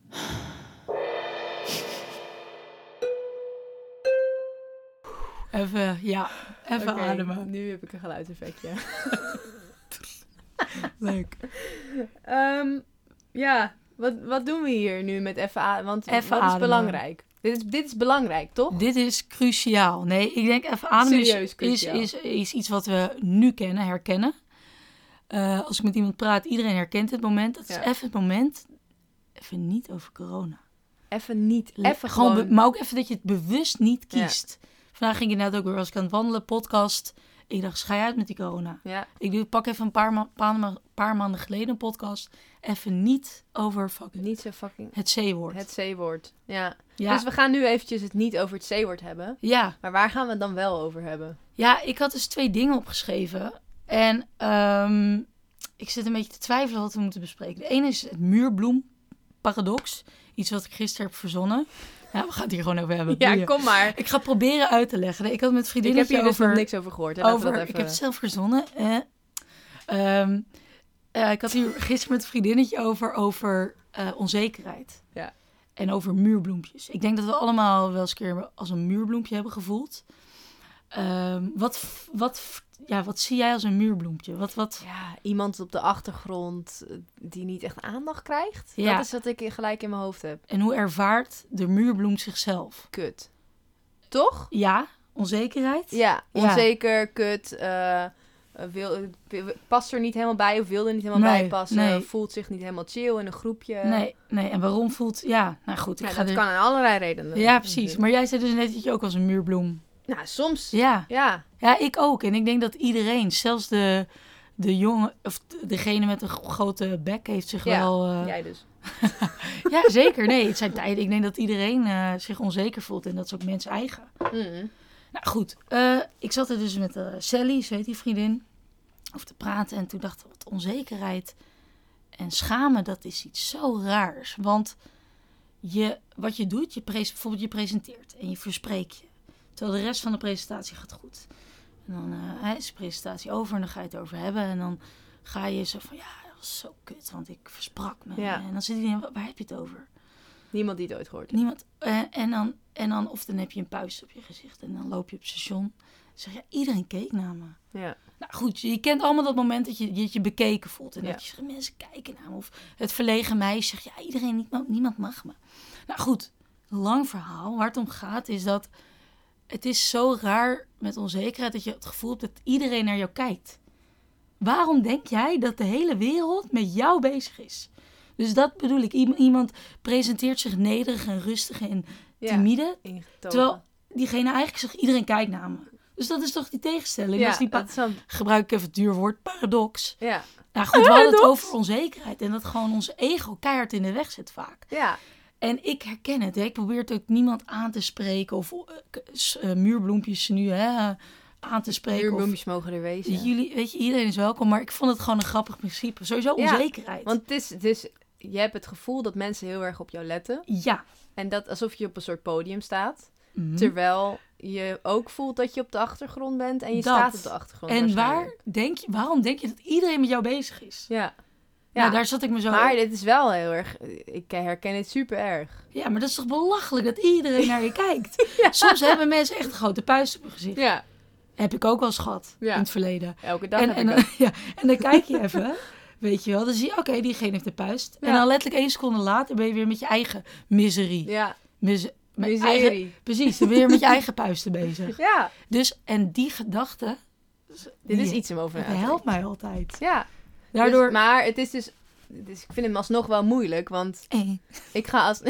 Speaker 2: Even, ja, even
Speaker 1: Oké,
Speaker 2: ademen.
Speaker 1: Nu heb ik een geluidseffectje.
Speaker 2: Leuk.
Speaker 1: Ehm, ja, wat, wat doen we hier nu met even ademen? Want
Speaker 2: Even
Speaker 1: wat
Speaker 2: ademen.
Speaker 1: is belangrijk? Dit is, dit is belangrijk, toch?
Speaker 2: Dit is cruciaal. Nee, ik denk even ademen is-
Speaker 1: Oh. Serieus
Speaker 2: is,
Speaker 1: cruciaal.
Speaker 2: is, is iets wat we nu kennen, herkennen. Eh, als ik met iemand praat, iedereen herkent het moment. Dat is
Speaker 1: Ja.
Speaker 2: even het moment. Even niet over corona.
Speaker 1: Even niet.
Speaker 2: Le-
Speaker 1: Even gewoon...
Speaker 2: be- maar ook even dat je het bewust niet
Speaker 1: Ja.
Speaker 2: kiest. Vandaag ging je net ook weer als ik aan het wandelen, podcast. Ik dacht, schei uit met die corona.
Speaker 1: Ja,
Speaker 2: Ik doe, pak even een paar, ma- paar, ma- paar maanden geleden een podcast. Even niet over fucking
Speaker 1: niet zo fucking...
Speaker 2: het C-woord.
Speaker 1: Het C-woord. Ja.
Speaker 2: Ja.
Speaker 1: Dus we gaan nu eventjes het niet over het C-woord hebben.
Speaker 2: ja.
Speaker 1: Maar waar gaan we het dan wel over hebben?
Speaker 2: Ja, ik had dus twee dingen opgeschreven. En ehm, ik zit een beetje te twijfelen wat we moeten bespreken. De ene is het muurbloemparadox. Iets wat ik gisteren heb verzonnen. Ja, we gaan het hier gewoon over hebben. boeien.
Speaker 1: kom maar.
Speaker 2: Ik ga proberen uit te leggen. Ik had met
Speaker 1: Ik heb
Speaker 2: vriendinnetje
Speaker 1: hier dus
Speaker 2: over...
Speaker 1: nog niks over gehoord. Hè? Laten we
Speaker 2: over
Speaker 1: dat even...
Speaker 2: Ik heb het zelf verzonnen. Eh. Ehm, eh, ik had hier gisteren met een vriendinnetje over, over eh, onzekerheid.
Speaker 1: Ja.
Speaker 2: En over muurbloempjes. Ik denk dat we allemaal wel eens een keer als een muurbloempje hebben gevoeld. Ehm, wat, f- wat, f- ja, wat zie jij als een muurbloempje? Wat, wat,
Speaker 1: Ja, iemand op de achtergrond eh, die niet echt aandacht krijgt.
Speaker 2: Ja.
Speaker 1: Dat is wat ik gelijk in mijn hoofd heb.
Speaker 2: en hoe ervaart de muurbloem zichzelf?
Speaker 1: Kut. Toch?
Speaker 2: Ja, onzekerheid?
Speaker 1: Ja,
Speaker 2: Ja.
Speaker 1: onzeker, kut. eh, eh, wil, eh, past er niet helemaal bij of wil er niet helemaal
Speaker 2: Nee,
Speaker 1: bij passen.
Speaker 2: nee.
Speaker 1: Voelt zich niet helemaal chill in een groepje.
Speaker 2: Nee, nee, en waarom voelt... Ja, nou goed, ik
Speaker 1: Ja,
Speaker 2: ga
Speaker 1: dat
Speaker 2: er-
Speaker 1: kan Mhm. aan allerlei redenen.
Speaker 2: Ja, precies. Maar jij zei dus net dat je ook als een muurbloem...
Speaker 1: Nou, soms. Ja.
Speaker 2: Ja, Ja, ik ook. En ik denk dat iedereen, zelfs de, de jongen, of degene met een gro- grote bek, heeft zich
Speaker 1: Ja,
Speaker 2: wel. eh,
Speaker 1: Jij dus.
Speaker 2: ja, zeker. Nee, het zijn tijden. Ik denk dat iedereen eh, zich onzeker voelt en dat is ook mens eigen.
Speaker 1: Mm.
Speaker 2: Nou goed, eh, ik zat er dus met eh, Sally, zo heet die vriendin, over te praten. En toen dacht ik, wat onzekerheid en schamen, dat is iets zo raars. Want je, wat je doet, je pres- bijvoorbeeld je presenteert en je verspreekt je. Terwijl de rest van de presentatie gaat goed. En dan eh, hè, is de presentatie over en dan ga je het over hebben. En dan ga je zo van, ja, dat was zo kut, want ik versprak me.
Speaker 1: Ja.
Speaker 2: En dan zit iedereen, "Wa- waar heb je het over?
Speaker 1: Niemand die het ooit hoort.
Speaker 2: Niemand. eh, en, dan, en dan, of dan heb je een puist op je gezicht en dan loop je op het station. Dan zeg je, iedereen keek naar me.
Speaker 1: Ja.
Speaker 2: Nou goed, je kent allemaal dat moment dat je dat je bekeken voelt. En
Speaker 1: Ja.
Speaker 2: dat je zegt, mensen kijken naar me. Of het verlegen meisje zegt, ja, iedereen, niemand, niemand mag me. Nou goed, lang verhaal. Waar het om gaat is dat het is zo raar met onzekerheid dat je het gevoel hebt dat iedereen naar jou kijkt. Waarom denk jij dat de hele wereld met jou bezig is? Dus dat bedoel ik. Iem- Iemand presenteert zich nederig en rustig en
Speaker 1: Ja.
Speaker 2: timide.
Speaker 1: Ingetogen.
Speaker 2: Terwijl diegene eigenlijk zegt, iedereen kijkt naar me. Dus dat is toch die tegenstelling? Dat
Speaker 1: ja,
Speaker 2: is die pa-
Speaker 1: dat is dan-
Speaker 2: gebruik ik even het duur woord, paradox.
Speaker 1: ja.
Speaker 2: Nou goed, we hadden het
Speaker 1: Paradox.
Speaker 2: over onzekerheid en dat gewoon ons ego keihard in de weg zit vaak.
Speaker 1: ja.
Speaker 2: En ik herken het, hè. ik probeer het ook niemand aan te spreken of eh, k- s- eh, muurbloempjes nu hè, eh, aan te spreken. Of,
Speaker 1: Uurbloempjes mogen er wezen.
Speaker 2: Jullie, weet je, iedereen is welkom, maar ik vond het gewoon een grappig principe. Sowieso
Speaker 1: Ja,
Speaker 2: onzekerheid.
Speaker 1: Want het is, het is, je hebt het gevoel dat mensen heel erg op jou letten.
Speaker 2: ja.
Speaker 1: En dat alsof je op een soort podium staat.
Speaker 2: Mhm.
Speaker 1: Terwijl je ook voelt dat je op de achtergrond bent. En je
Speaker 2: Dat.
Speaker 1: staat op de achtergrond.
Speaker 2: En waar
Speaker 1: waarschijnlijk.
Speaker 2: denk je, waarom denk je dat iedereen met jou bezig is?
Speaker 1: Ja.
Speaker 2: Ja,
Speaker 1: Ja,
Speaker 2: daar zat ik me zo
Speaker 1: maar dit is wel heel erg... Ik herken dit super erg.
Speaker 2: Ja, maar dat is toch belachelijk dat iedereen naar je kijkt? Soms hebben mensen echt een grote puist op hun gezicht.
Speaker 1: Ja,
Speaker 2: Heb ik ook wel eens gehad
Speaker 1: Ja.
Speaker 2: in het verleden.
Speaker 1: elke dag
Speaker 2: En,
Speaker 1: heb
Speaker 2: en,
Speaker 1: ik
Speaker 2: dan,
Speaker 1: dat.
Speaker 2: ja, en dan kijk je even, weet je wel. Dan zie je, oké, diegene heeft de puist. En
Speaker 1: Ja.
Speaker 2: dan letterlijk één seconde later ben je weer met je eigen miserie.
Speaker 1: Ja,
Speaker 2: Mis, met
Speaker 1: Miserie.
Speaker 2: eigen- precies, dan ben je met je eigen puisten bezig.
Speaker 1: Ja,
Speaker 2: Dus, en die gedachte...
Speaker 1: dit is
Speaker 2: die-
Speaker 1: iets om over na te
Speaker 2: Het helpt mij altijd.
Speaker 1: denken. Ja,
Speaker 2: Daardoor...
Speaker 1: Dus- maar het is dus... Dus ik vind hem alsnog wel moeilijk, want
Speaker 2: Eh,
Speaker 1: ik ga, als,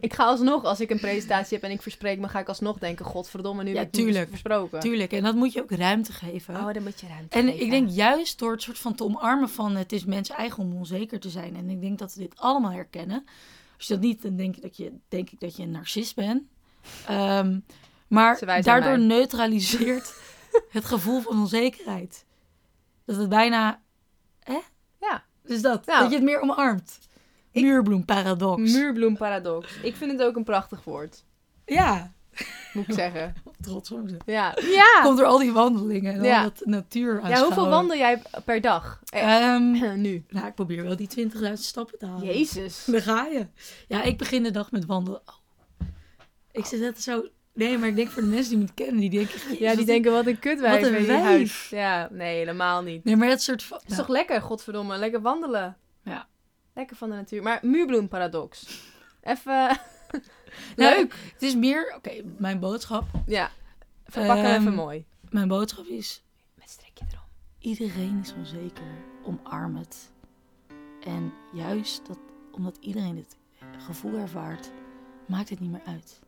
Speaker 1: ik ga alsnog, als ik een presentatie heb en ik verspreek me, ga ik alsnog denken, godverdomme, nu
Speaker 2: Ja,
Speaker 1: heb ik niet
Speaker 2: tuurlijk.
Speaker 1: versproken.
Speaker 2: Tuurlijk, en dat moet je ook ruimte geven.
Speaker 1: Oh, dan moet je ruimte
Speaker 2: En
Speaker 1: geven.
Speaker 2: ik denk juist door het soort van te omarmen van het is mens eigen om onzeker te zijn. En ik denk dat we dit allemaal herkennen. Als je dat niet, dan denk, je dat je, denk ik dat je een narcist bent. Ehm, maar
Speaker 1: Ze wijst naar
Speaker 2: daardoor neutraliseert het gevoel van onzekerheid. Dat het bijna... Hè?
Speaker 1: Ja.
Speaker 2: Dus dat,
Speaker 1: Nou.
Speaker 2: dat je het meer omarmt.
Speaker 1: Ik-
Speaker 2: Muurbloemparadox.
Speaker 1: Muurbloemparadox. Ik vind het ook een prachtig woord,
Speaker 2: Ja,
Speaker 1: moet ik zeggen.
Speaker 2: trots op ze.
Speaker 1: Ja. Ja.
Speaker 2: Komt door al die wandelingen en
Speaker 1: Ja.
Speaker 2: al dat natuur
Speaker 1: ja hoeveel wandel jij per dag? Eh, nu.
Speaker 2: nou, ik probeer wel die 20.000 stappen
Speaker 1: Ah,
Speaker 2: te halen.
Speaker 1: Jezus.
Speaker 2: Daar ga je. Ja, ik begin de dag met wandelen. Oh. Ik zit net zo... Nee, maar ik denk voor de mensen die me kennen, die denken...
Speaker 1: Ja,
Speaker 2: "Jezus,
Speaker 1: die denken wat een kutwijf.
Speaker 2: Wat een
Speaker 1: in je
Speaker 2: wijf.
Speaker 1: huis. Ja, nee, helemaal niet.
Speaker 2: Nee, maar dat soort van...
Speaker 1: Het is toch lekker, godverdomme. Lekker wandelen.
Speaker 2: Ja.
Speaker 1: Lekker van de natuur. Maar muurbloemparadox. Even...
Speaker 2: Nou,
Speaker 1: Leuk.
Speaker 2: het is meer... Oké, mijn boodschap...
Speaker 1: Ja. Verpakken we
Speaker 2: Ehm,
Speaker 1: even mooi.
Speaker 2: Mijn boodschap is...
Speaker 1: Met strikje erom.
Speaker 2: Iedereen is onzeker. Omarm het. En juist dat, omdat iedereen dit gevoel ervaart, maakt het niet meer uit.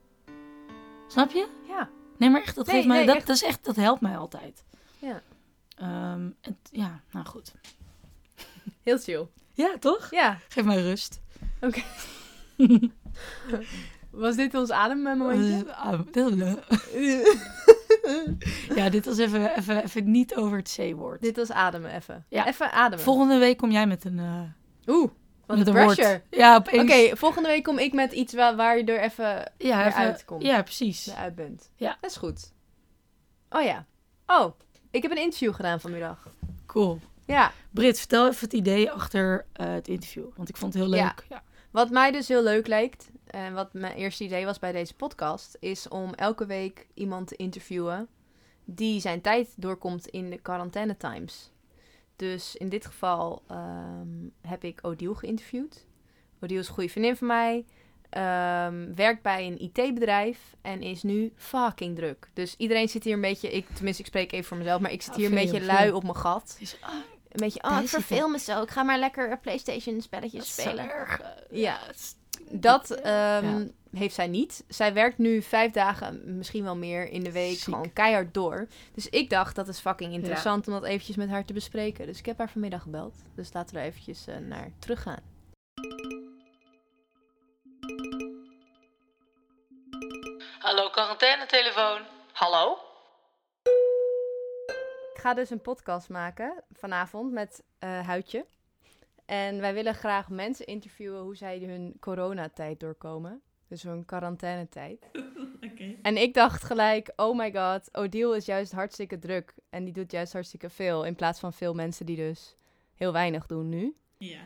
Speaker 2: Snap je?
Speaker 1: Ja.
Speaker 2: Nee, maar echt, dat,
Speaker 1: Nee,
Speaker 2: geeft mij,
Speaker 1: nee,
Speaker 2: dat,
Speaker 1: echt.
Speaker 2: dat is echt, dat helpt mij altijd.
Speaker 1: Ja.
Speaker 2: Ehm, en t- ja, nou goed.
Speaker 1: Heel chill.
Speaker 2: Ja, toch?
Speaker 1: Ja.
Speaker 2: Geef mij rust.
Speaker 1: Was dit ons ademmomentje?
Speaker 2: Ja, dit was even, even, even niet over het C-woord.
Speaker 1: dit was ademen, even.
Speaker 2: Ja.
Speaker 1: Even ademen.
Speaker 2: Volgende week kom jij met een, eh
Speaker 1: Oeh. Wat
Speaker 2: met
Speaker 1: een
Speaker 2: een woord.
Speaker 1: pressure.
Speaker 2: Ja,
Speaker 1: Oké,
Speaker 2: opeens.
Speaker 1: volgende week kom ik met iets waar, waar je er even
Speaker 2: ja,
Speaker 1: weer
Speaker 2: even-
Speaker 1: uitkomt.
Speaker 2: Ja, precies.
Speaker 1: uit bent.
Speaker 2: Ja.
Speaker 1: Dat is goed. Oh ja. Oh, ik heb een interview gedaan vanmiddag.
Speaker 2: Cool.
Speaker 1: Ja.
Speaker 2: Brit, vertel even het idee achter eh, het interview. Want ik vond het heel
Speaker 1: Ja.
Speaker 2: leuk. Ja.
Speaker 1: Wat mij dus heel leuk lijkt, en wat mijn eerste idee was bij deze podcast, is om elke week iemand te interviewen die zijn tijd doorkomt in de quarantaine times. Dus in dit geval ehm, heb ik Odile geïnterviewd. Odile is een goede vriendin van mij, ehm, werkt bij een IT-bedrijf en is nu fucking druk. Dus iedereen zit hier een beetje, ik, tenminste ik spreek even voor mezelf, maar ik zit
Speaker 2: Ja,
Speaker 1: hier een
Speaker 2: veel,
Speaker 1: beetje
Speaker 2: veel.
Speaker 1: lui op mijn gat.
Speaker 2: is ah,
Speaker 1: Een beetje, oh ik
Speaker 2: Deze
Speaker 1: verveel me zo, ik ga maar lekker eh, Playstation spelletjes
Speaker 2: dat is zo
Speaker 1: spelen.
Speaker 2: erg, eh,
Speaker 1: Ja.
Speaker 2: het is-
Speaker 1: Dat ehm, heeft zij niet. Zij werkt nu vijf dagen, misschien wel meer in de week,
Speaker 2: Ziek.
Speaker 1: gewoon keihard door. Dus ik dacht, dat is fucking interessant om dat eventjes met haar te bespreken. Dus ik heb haar vanmiddag gebeld. Dus laten we er eventjes eh, naar teruggaan.
Speaker 3: Hallo quarantainetelefoon. Hallo?
Speaker 1: Ik ga dus een podcast maken vanavond met eh, Huidje. En wij willen graag mensen interviewen hoe zij hun coronatijd doorkomen. Dus hun quarantainetijd. En ik dacht gelijk, oh my god, Odile is juist hartstikke druk. En die doet juist hartstikke veel. In plaats van veel mensen die dus heel weinig doen nu.
Speaker 4: Ja.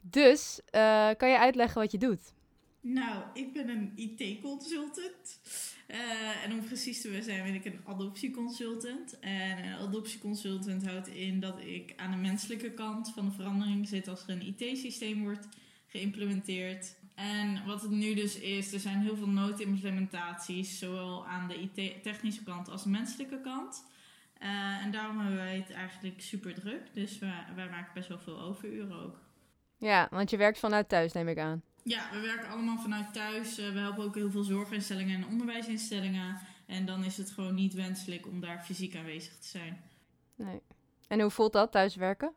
Speaker 1: Dus, eh, kan je uitleggen wat je doet?
Speaker 4: Nou, ik ben een IT-consultant. Eh, en om precies te zijn ben ik een adoptieconsultant. En een adoptieconsultant houdt in dat ik aan de menselijke kant van de verandering zit als er een IT-systeem wordt geïmplementeerd. En wat het nu dus is, er zijn heel veel noodimplementaties, zowel aan de IT-technische kant als de menselijke kant. Eh, en daarom hebben wij het eigenlijk super druk. Dus wij, wij maken best wel veel overuren ook.
Speaker 1: Ja, want je werkt vanuit thuis, neem ik aan.
Speaker 4: Ja, we werken allemaal vanuit thuis. Eh, we helpen ook heel veel zorginstellingen en onderwijsinstellingen. En dan is het gewoon niet wenselijk om daar fysiek aanwezig te zijn.
Speaker 1: Nee. En hoe voelt dat, thuiswerken?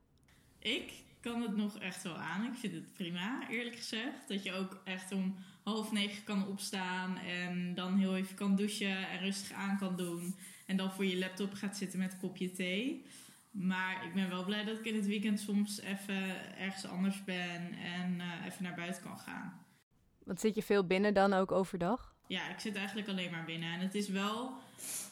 Speaker 4: Ik kan het nog echt wel aan. Ik vind het prima, eerlijk gezegd. Dat je ook echt om half negen kan opstaan en dan heel even kan douchen en rustig aan kan doen. En dan voor je laptop gaat zitten met een kopje thee. Maar ik ben wel blij dat ik in het weekend soms even ergens anders ben en eh, even naar buiten kan gaan.
Speaker 1: Want zit je veel binnen dan ook overdag?
Speaker 4: Ja, ik zit eigenlijk alleen maar binnen. En het is wel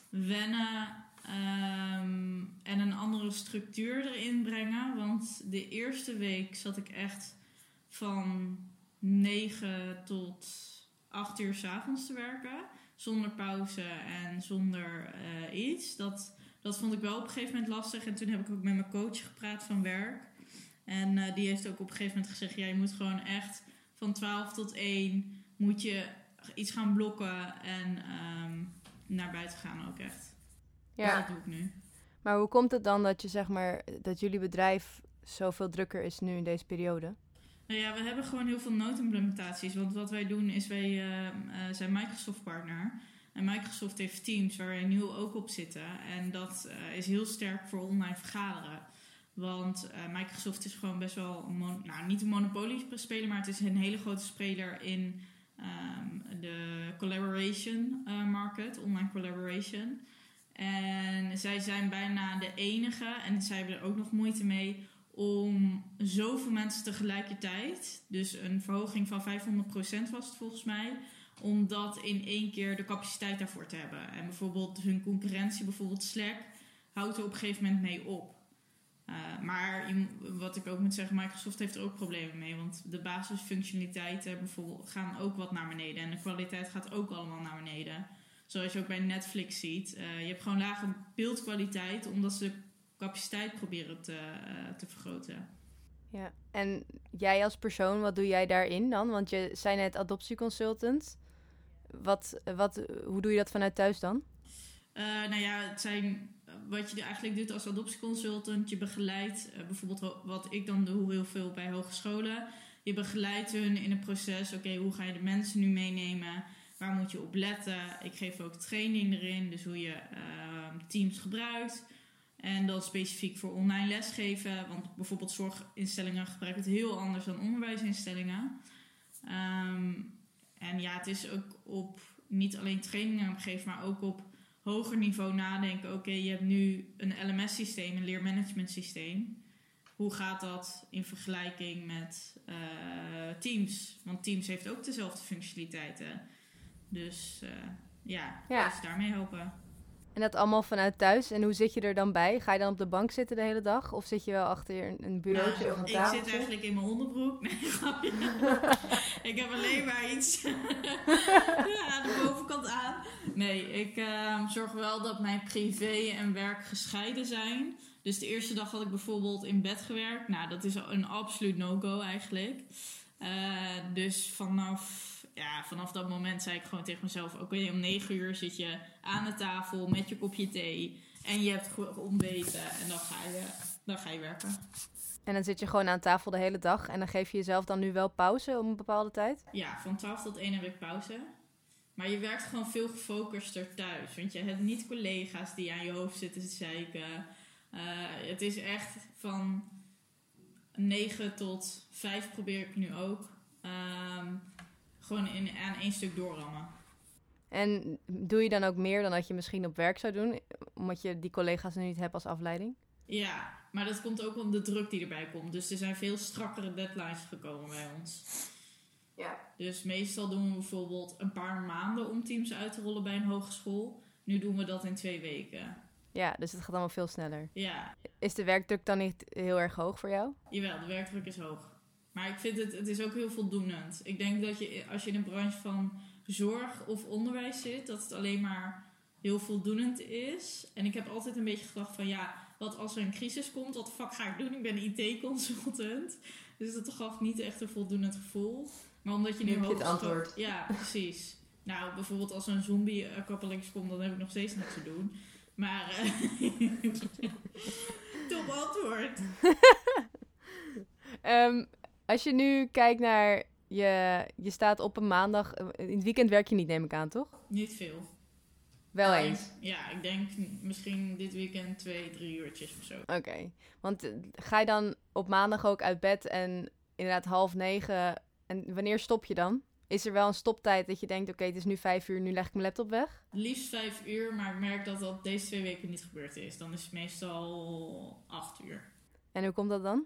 Speaker 4: wennen ehm, en een andere structuur erin brengen. Want de eerste week zat ik echt van 9 tot 8 uur 's avonds te werken. Zonder pauze en zonder eh, iets. Dat, dat vond ik wel op een gegeven moment lastig. En toen heb ik ook met mijn coach gepraat van werk. En eh, die heeft ook op een gegeven moment gezegd: ja, je moet gewoon echt van 12 tot 1 moet je iets gaan blokken en ehm, naar buiten gaan ook echt. Dus dat doe ik nu.
Speaker 1: Maar hoe komt het dan dat je zeg maar dat jullie bedrijf zoveel drukker is nu in deze periode?
Speaker 4: Nou ja, we hebben gewoon heel veel noodimplementaties. Want wat wij doen is, wij eh, eh, zijn Microsoft-partner. En Microsoft heeft Teams, waar wij nu ook op zitten. En dat eh, is heel sterk voor online vergaderen. Want eh, Microsoft is gewoon best wel, een mon- nou niet een monopoliespeler, maar het is een hele grote speler in ehm, de collaboration eh, market, online collaboration. En zij zijn bijna de enige, en zij hebben er ook nog moeite mee, om zoveel mensen tegelijkertijd, dus een verhoging van 500% was het volgens mij, om dat in één keer de capaciteit daarvoor te hebben. En bijvoorbeeld hun concurrentie, bijvoorbeeld Slack, houdt er op een gegeven moment mee op. Eh, maar je mo- wat ik ook moet zeggen, Microsoft heeft er ook problemen mee. Want de basisfunctionaliteiten bijvoorbeeld gaan ook wat naar beneden. En de kwaliteit gaat ook allemaal naar beneden. Zoals je ook bij Netflix ziet. Eh, je hebt gewoon lage beeldkwaliteit omdat ze de capaciteit proberen te, eh, te vergroten.
Speaker 1: Ja. En jij als persoon, wat doe jij daarin dan? Want je zei net adoptieconsultant. Wat, wat, hoe doe je dat vanuit thuis dan?
Speaker 4: Eh, nou ja, het zijn eh, wat je eigenlijk doet als adoptieconsultant. Je begeleidt eh, bijvoorbeeld ho- wat ik dan doe heel veel bij hogescholen. Je begeleidt hun in het proces. Oké, hoe ga je de mensen nu meenemen? Waar moet je op letten? Ik geef ook training erin, dus hoe je ehm, teams gebruikt. En dan specifiek voor online lesgeven. Want bijvoorbeeld zorginstellingen gebruiken het heel anders dan onderwijsinstellingen. Ehm, en ja, het is ook op niet alleen trainingen geven, maar ook op hoger niveau nadenken. Oké, je hebt nu een LMS-systeem, een leermanagementsysteem. Hoe gaat dat in vergelijking met eh, Teams? Want Teams heeft ook dezelfde functionaliteiten. Dus eh, ja,
Speaker 1: Ja.
Speaker 4: dus daarmee helpen.
Speaker 1: En dat allemaal vanuit thuis. En hoe zit je er dan bij? Ga je dan op de bank zitten de hele dag? Of zit je wel achter een, een bureautje
Speaker 4: Nou,
Speaker 1: of een
Speaker 4: ik
Speaker 1: tafeltje?
Speaker 4: zit eigenlijk in mijn onderbroek. Nee, grapje. ik heb alleen maar iets aan de bovenkant aan. Nee, ik ehm, zorg wel dat mijn privé en werk gescheiden zijn. Dus de eerste dag had ik bijvoorbeeld in bed gewerkt. Nou, dat is een absoluut no-go eigenlijk. Eh, dus vanaf, ja, vanaf dat moment zei ik gewoon tegen mezelf... oké, om negen uur zit je aan de tafel met je kopje thee... en je hebt ge- ontbeten en dan ga je, dan ga je werken.
Speaker 1: En dan zit je gewoon aan tafel de hele dag. En dan geef je jezelf dan nu wel pauze om een bepaalde tijd?
Speaker 4: Ja, van 12 tot 1 heb ik pauze. Maar je werkt gewoon veel gefocuster thuis. Want je hebt niet collega's die aan je hoofd zitten te zeiken. Eh, het is echt van 9 tot 5 probeer ik nu ook. ehm, gewoon in, aan één stuk doorrammen.
Speaker 1: En doe je dan ook meer dan dat je misschien op werk zou doen? Omdat je die collega's nu niet hebt als afleiding?
Speaker 4: Ja, maar dat komt ook om de druk die erbij komt. Dus er zijn veel strakkere deadlines gekomen bij ons.
Speaker 1: Ja.
Speaker 4: Dus meestal doen we bijvoorbeeld een paar maanden om teams uit te rollen bij een hogeschool. Nu doen we dat in twee weken.
Speaker 1: Ja, dus het gaat allemaal veel sneller.
Speaker 4: Ja,
Speaker 1: Is de werkdruk dan niet heel erg hoog voor jou?
Speaker 4: Jawel, de werkdruk is hoog. Maar ik vind het, het is ook heel voldoenend. Ik denk dat je, als je in een branche van zorg of onderwijs zit, dat het alleen maar heel voldoenend is. En ik heb altijd een beetje gedacht van, ja, wat als er een crisis komt, wat de fuck ga ik doen? Ik ben IT-consultant. Dus dat gaf niet echt een voldoenend gevoel. Maar omdat je nu
Speaker 5: Nu heb je het
Speaker 4: hooggeschoold-
Speaker 5: antwoord.
Speaker 4: Ja, precies. Nou, bijvoorbeeld als er een zombie eh, kappelinks komt, dan heb ik nog steeds niks te doen. Maar, eh, top antwoord.
Speaker 1: Ehm, als je nu kijkt naar je, je staat op een maandag. eh, In het weekend werk je niet, neem ik aan, toch?
Speaker 4: Niet veel.
Speaker 1: Wel
Speaker 4: Ik-
Speaker 1: eens.
Speaker 4: Ja, ik denk misschien dit weekend twee, drie uurtjes of zo.
Speaker 1: Oké. Want eh, ga je dan op maandag ook uit bed en inderdaad half negen. En wanneer stop je dan? Is er wel een stoptijd dat je denkt: oké, het is nu vijf uur, nu leg ik mijn laptop weg?
Speaker 4: Liefst vijf uur, maar ik merk dat dat deze twee weken niet gebeurd is. Dan is het meestal acht uur.
Speaker 1: En hoe komt dat dan?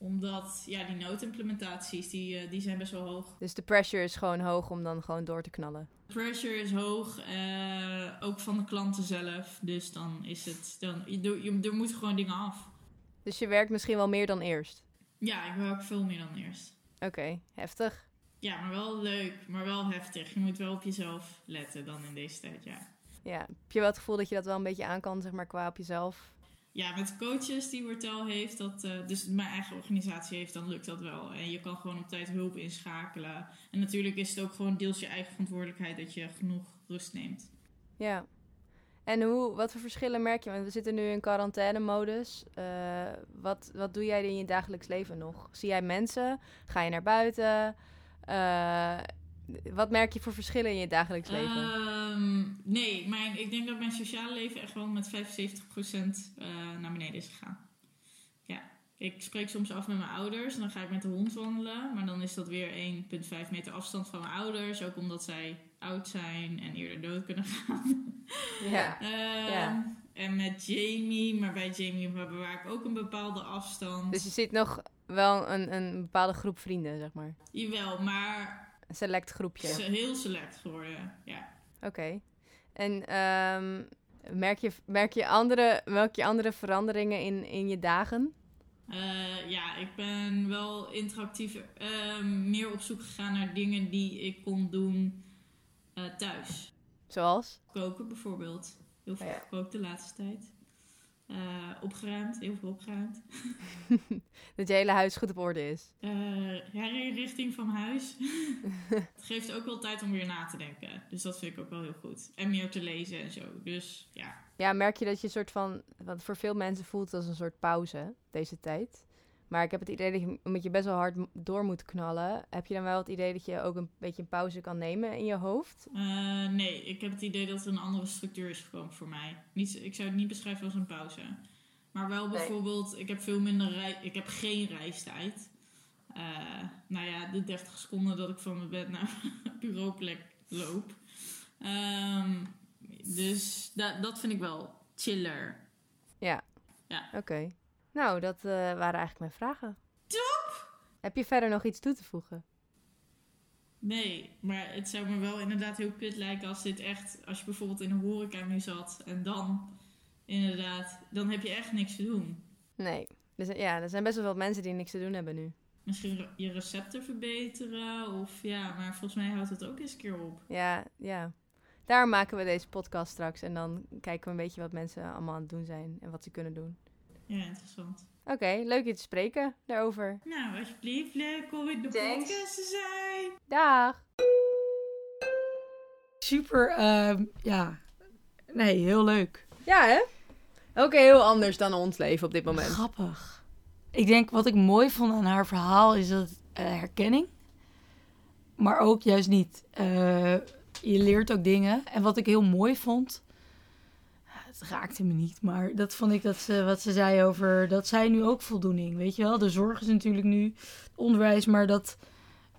Speaker 4: Omdat, ja, die noodimplementaties, die, eh, die zijn best wel hoog.
Speaker 1: Dus de pressure is gewoon hoog om dan gewoon door te knallen.
Speaker 4: Pressure is hoog, eh, ook van de klanten zelf. Dus dan is het, dan, je, doe- je, er moeten gewoon dingen af.
Speaker 1: Dus je werkt misschien wel meer dan eerst.
Speaker 4: Ja, ik werk veel meer dan eerst.
Speaker 1: Oké, heftig.
Speaker 4: Ja, maar wel leuk, maar wel heftig. Je moet wel op jezelf letten dan in deze tijd, ja.
Speaker 1: Ja. Heb je wel het gevoel dat je dat wel een beetje aan kan, zeg maar, qua op jezelf?
Speaker 4: ja, met coaches die Wortel heeft, dat, eh, dus mijn eigen organisatie heeft, dan lukt dat wel. En je kan gewoon op tijd hulp inschakelen. En natuurlijk is het ook gewoon deels je eigen verantwoordelijkheid dat je genoeg rust neemt.
Speaker 1: Ja. En hoe, wat voor verschillen merk je? Want we zitten nu in quarantaine-modus. Eh, wat, wat doe jij in je dagelijks leven nog? Zie jij mensen? Ga je naar buiten? Eh, wat merk je voor verschillen in je dagelijks leven?
Speaker 4: Ehm, nee, mijn, ik denk dat mijn sociale leven echt wel met 75% eh, naar beneden is gegaan. Ja, ik spreek soms af met mijn ouders en dan ga ik met de hond wandelen. Maar dan is dat weer 1,5 meter afstand van mijn ouders. Ook omdat zij oud zijn en eerder dood kunnen gaan.
Speaker 1: ja.
Speaker 4: Ehm,
Speaker 1: Ja.
Speaker 4: En met Jamie, maar bij Jamie bewaar ik ook een bepaalde afstand.
Speaker 1: Dus je ziet nog wel een, een bepaalde groep vrienden, zeg maar.
Speaker 4: Jawel, maar
Speaker 1: Een select groepje.
Speaker 4: ze heel select geworden. Ja.
Speaker 1: Oké. En ehm, merk, je, merk, je andere, merk je andere veranderingen in, in je dagen?
Speaker 4: Eh, ja, ik ben wel interactief ehm, meer op zoek gegaan naar dingen die ik kon doen eh, thuis.
Speaker 1: Zoals?
Speaker 4: Koken bijvoorbeeld. Heel veel
Speaker 1: Oh Ja.
Speaker 4: gekookt de laatste tijd. Eh, opgeruimd, heel veel opgeruimd.
Speaker 1: Dat je hele huis goed op orde is.
Speaker 4: Eh herinrichting van huis. het geeft ook wel tijd om weer na te denken. Dus dat vind ik ook wel heel goed. En meer te lezen en zo. Dus ja.
Speaker 1: Ja, merk je dat je een soort van. Want voor veel mensen voelt het als een soort pauze deze tijd. Maar ik heb het idee dat je omdat je best wel hard m- door moet knallen. Heb je dan wel het idee dat je ook een beetje een pauze kan nemen in je hoofd?
Speaker 4: Eh, nee, ik heb het idee dat er een andere structuur is gekomen voor mij. Niet, ik zou het niet beschrijven als een pauze. Maar wel bijvoorbeeld, ik heb veel minder rei- ik heb geen reistijd. Eh, nou ja, de 30 seconden dat ik van mijn bed naar mijn bureauplek loop. Ehm, dus da- dat vind ik wel chiller.
Speaker 1: Ja.
Speaker 4: Ja.
Speaker 1: Oké. Nou, dat eh, waren eigenlijk mijn vragen.
Speaker 4: Top!
Speaker 1: Heb je verder nog iets toe te voegen?
Speaker 4: Nee, maar het zou me wel inderdaad heel kut lijken als dit echt, als je bijvoorbeeld in een horeca nu zat en dan inderdaad, dan heb je echt niks te doen.
Speaker 1: Nee. Er zijn- ja, er zijn best wel veel mensen die niks te doen hebben nu.
Speaker 4: Misschien re- je recepten verbeteren of ja, maar volgens mij houdt het ook eens een keer op.
Speaker 1: Ja, ja. Daarom maken we deze podcast straks. En dan kijken we een beetje wat mensen allemaal aan het doen zijn en wat ze kunnen doen.
Speaker 4: Ja, interessant.
Speaker 1: Oké, leuk je te spreken daarover.
Speaker 4: Nou, alsjeblieft, leuk om in de
Speaker 3: Thanks.
Speaker 4: podcast te zijn.
Speaker 1: Dag!
Speaker 2: Super, ehm, ja. Nee, heel leuk.
Speaker 1: Ja, hè? Ook heel anders dan ons leven op dit moment.
Speaker 2: Grappig. Ik denk wat ik mooi vond aan haar verhaal is dat eh, herkenning. Maar ook juist niet. Eh, je leert ook dingen. En wat ik heel mooi vond. ah, Het raakte me niet, maar dat vond ik dat ze, wat ze zei over dat zij nu ook voldoening. Weet je wel, de zorg is natuurlijk nu het onderwijs, maar dat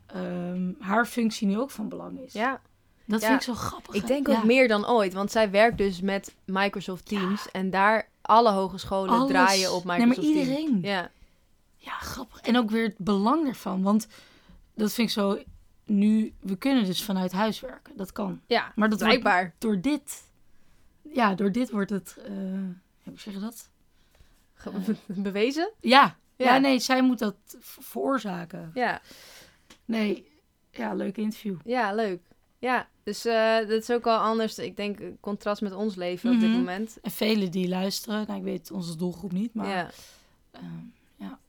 Speaker 2: ehm, haar functie nu ook van belang is.
Speaker 1: Ja,
Speaker 2: Dat
Speaker 1: Ja.
Speaker 2: vind ik zo grappig.
Speaker 1: ik
Speaker 2: hè?
Speaker 1: denk ook
Speaker 2: Ja.
Speaker 1: meer dan ooit, want zij werkt dus met Microsoft Teams en daar alle hogescholen
Speaker 2: Alles.
Speaker 1: draaien op
Speaker 2: Nee, maar
Speaker 1: Microsoft
Speaker 2: iedereen.
Speaker 1: Teams. Ja,
Speaker 2: Ja, grappig. En ook weer het belang ervan. Want dat vind ik zo. Nu, we kunnen dus vanuit huis werken. Dat kan.
Speaker 1: ja
Speaker 2: Maar dat wordt
Speaker 1: blijkbaar.
Speaker 2: door dit. Ja, door dit wordt het. eh, hoe zeg je dat?
Speaker 1: Ge- Bewezen?
Speaker 2: Ja. ja.
Speaker 1: Ja.
Speaker 2: nee, zij moet dat v- veroorzaken.
Speaker 1: Ja,
Speaker 2: Nee. Ja, leuk interview.
Speaker 1: ja leuk. Ja, dus eh, dat is ook al anders. Ik denk eh, contrast met ons leven op dit
Speaker 2: Mhm.
Speaker 1: moment.
Speaker 2: En velen die luisteren. Nou, ik weet onze doelgroep niet, maar.
Speaker 1: Ja,
Speaker 2: eh, ja.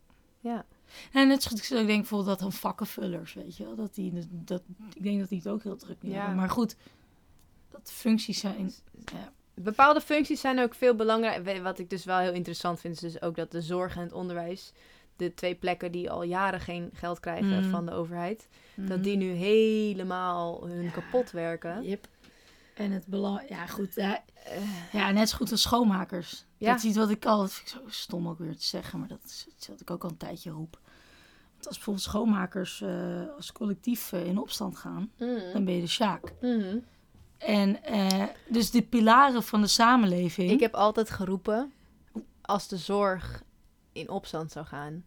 Speaker 1: Ja.
Speaker 2: En net zo goed, ik denk bijvoorbeeld dat dan vakkenvullers, weet je wel. Dat die, dat, ik denk dat die het ook heel druk nu
Speaker 1: Ja.
Speaker 2: hebben. Maar goed, dat functies zijn...
Speaker 1: Bepaalde functies zijn ook veel belangrijker. We- Wat ik dus wel heel interessant vind, is dus ook dat de zorg en het onderwijs, de twee plekken die al jaren geen geld krijgen
Speaker 2: Mm.
Speaker 1: van de overheid, dat die nu helemaal hun
Speaker 2: Ja.
Speaker 1: kapot werken.
Speaker 2: Yep. En het belang... Ja, goed. Ja, ja, net zo goed als schoonmakers.
Speaker 1: Eh. Ja.
Speaker 2: Dat is iets wat ik al... Dat vind ik zo stom ook weer te zeggen. Maar dat is iets wat ik ook al een tijdje roep. Want als bijvoorbeeld schoonmakers eh, als collectief eh, in opstand gaan...
Speaker 1: Hm.
Speaker 2: dan ben je de sjaak.
Speaker 1: Mhm.
Speaker 2: En eh, dus de pilaren van de samenleving...
Speaker 1: Ik heb altijd geroepen, als de zorg in opstand zou gaan.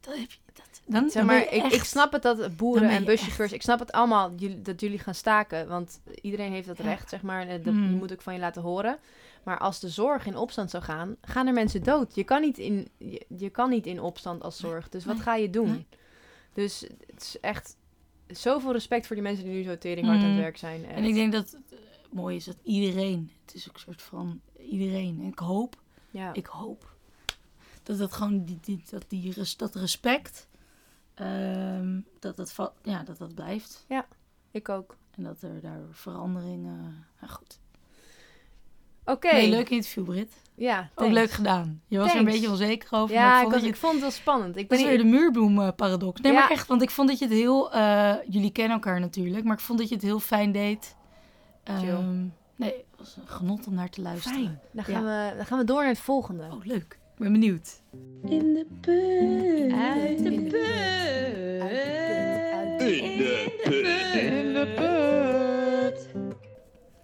Speaker 2: Dat heb je... Dat, dan,
Speaker 1: Zeg
Speaker 2: dan ben
Speaker 1: maar,
Speaker 2: je
Speaker 1: ik,
Speaker 2: echt-
Speaker 1: ik snap het dat boeren
Speaker 2: Dan ben
Speaker 1: en
Speaker 2: je
Speaker 1: buschauffeurs, ik snap het allemaal jullie- dat jullie gaan staken, want iedereen heeft dat
Speaker 2: Ja.
Speaker 1: recht, zeg maar, en dat
Speaker 2: Mm.
Speaker 1: moet ik van je laten horen. Maar als de zorg in opstand zou gaan, gaan er mensen dood. Je kan niet in, je, je kan niet in opstand als zorg, dus wat
Speaker 2: Nee.
Speaker 1: ga je doen?
Speaker 2: Nee.
Speaker 1: Dus het is echt zoveel respect voor die mensen die nu zo tering hard aan het
Speaker 2: Mm.
Speaker 1: werk zijn.
Speaker 2: En ik denk dat het eh, mooi is dat iedereen... Het is ook een soort van iedereen. En ik hoop...
Speaker 1: ja.
Speaker 2: Ik hoop dat dat gewoon die, die- dat, die, res- dat respect, ehm, dat, dat, va- ja, dat dat blijft.
Speaker 1: Ik ook.
Speaker 2: En dat er daar veranderingen... Nou goed.
Speaker 1: Oké.
Speaker 2: Nee, leuk interview, Brit.
Speaker 1: Ja,
Speaker 2: Ook
Speaker 1: thanks.
Speaker 2: leuk gedaan. Je was er een
Speaker 1: Thanks.
Speaker 2: beetje onzeker over. maar
Speaker 1: Ja, ik,
Speaker 2: vond
Speaker 1: was,
Speaker 2: dat je
Speaker 1: ik vond het wel spannend. Ik
Speaker 2: Dat
Speaker 1: ben
Speaker 2: is
Speaker 1: niet-
Speaker 2: weer de muurbloem-paradox. Nee, maar
Speaker 1: Ja.
Speaker 2: echt, want ik vond dat je het heel... eh, jullie kennen elkaar natuurlijk, maar ik vond dat je het heel fijn deed.
Speaker 1: Chill.
Speaker 2: Ehm, nee, het was een genot om naar te luisteren.
Speaker 1: Fijn. Dan gaan, we, dan gaan we door naar het volgende.
Speaker 2: Oh, leuk. Ik ben benieuwd.
Speaker 5: In de put.
Speaker 1: Uit de put.
Speaker 5: In de put.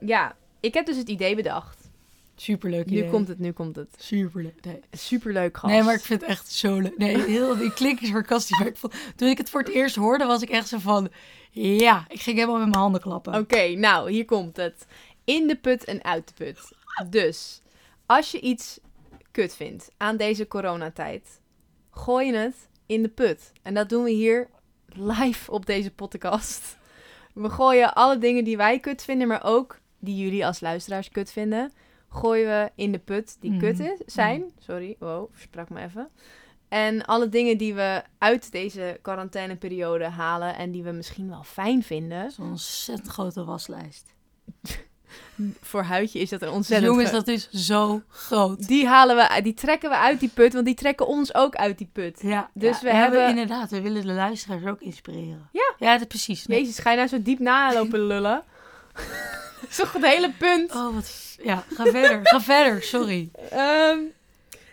Speaker 1: Ja, ik heb dus het idee bedacht.
Speaker 2: Superleuk idee.
Speaker 1: Nu komt het, nu komt het.
Speaker 2: Superleuk. Nee.
Speaker 1: Superleuk gast.
Speaker 2: nee, maar ik vind het echt zo leuk. Nee, heel, die klink is sarcastisch. Maar ik vond, toen ik het voor het eerst hoorde, was ik echt zo van... Ja, ik ging helemaal met mijn handen klappen.
Speaker 1: Oké, nou, hier komt het. In de put en uit de put. Dus, als je iets kut vindt aan deze coronatijd, gooi je het in de put. En dat doen we hier live op deze podcast. We gooien alle dingen die wij kut vinden, maar ook die jullie als luisteraars kut vinden, gooien we in de put die
Speaker 2: Mhm.
Speaker 1: kut is, zijn. Sorry, wow, versprak me even. En alle dingen die we uit deze quarantaineperiode halen en die we misschien wel fijn vinden,
Speaker 2: Zo'n ontzettend grote waslijst. Dus
Speaker 1: Voor huidje is dat een ontzettend...
Speaker 2: Jongens,
Speaker 1: ge-
Speaker 2: dat is zo groot.
Speaker 1: Die halen we, die trekken we uit die put, want die trekken ons ook uit die put.
Speaker 2: Ja,
Speaker 1: Dus
Speaker 2: ja,
Speaker 1: we hebben-
Speaker 2: inderdaad, we willen de luisteraars ook inspireren.
Speaker 1: Ja.
Speaker 2: Ja, dat precies. Nee.
Speaker 1: Jezus, ga je nou zo diep nalopen lullen? dat is toch het hele punt?
Speaker 2: Oh, wat... Ja, ga verder. ga verder, sorry.
Speaker 1: Ehm,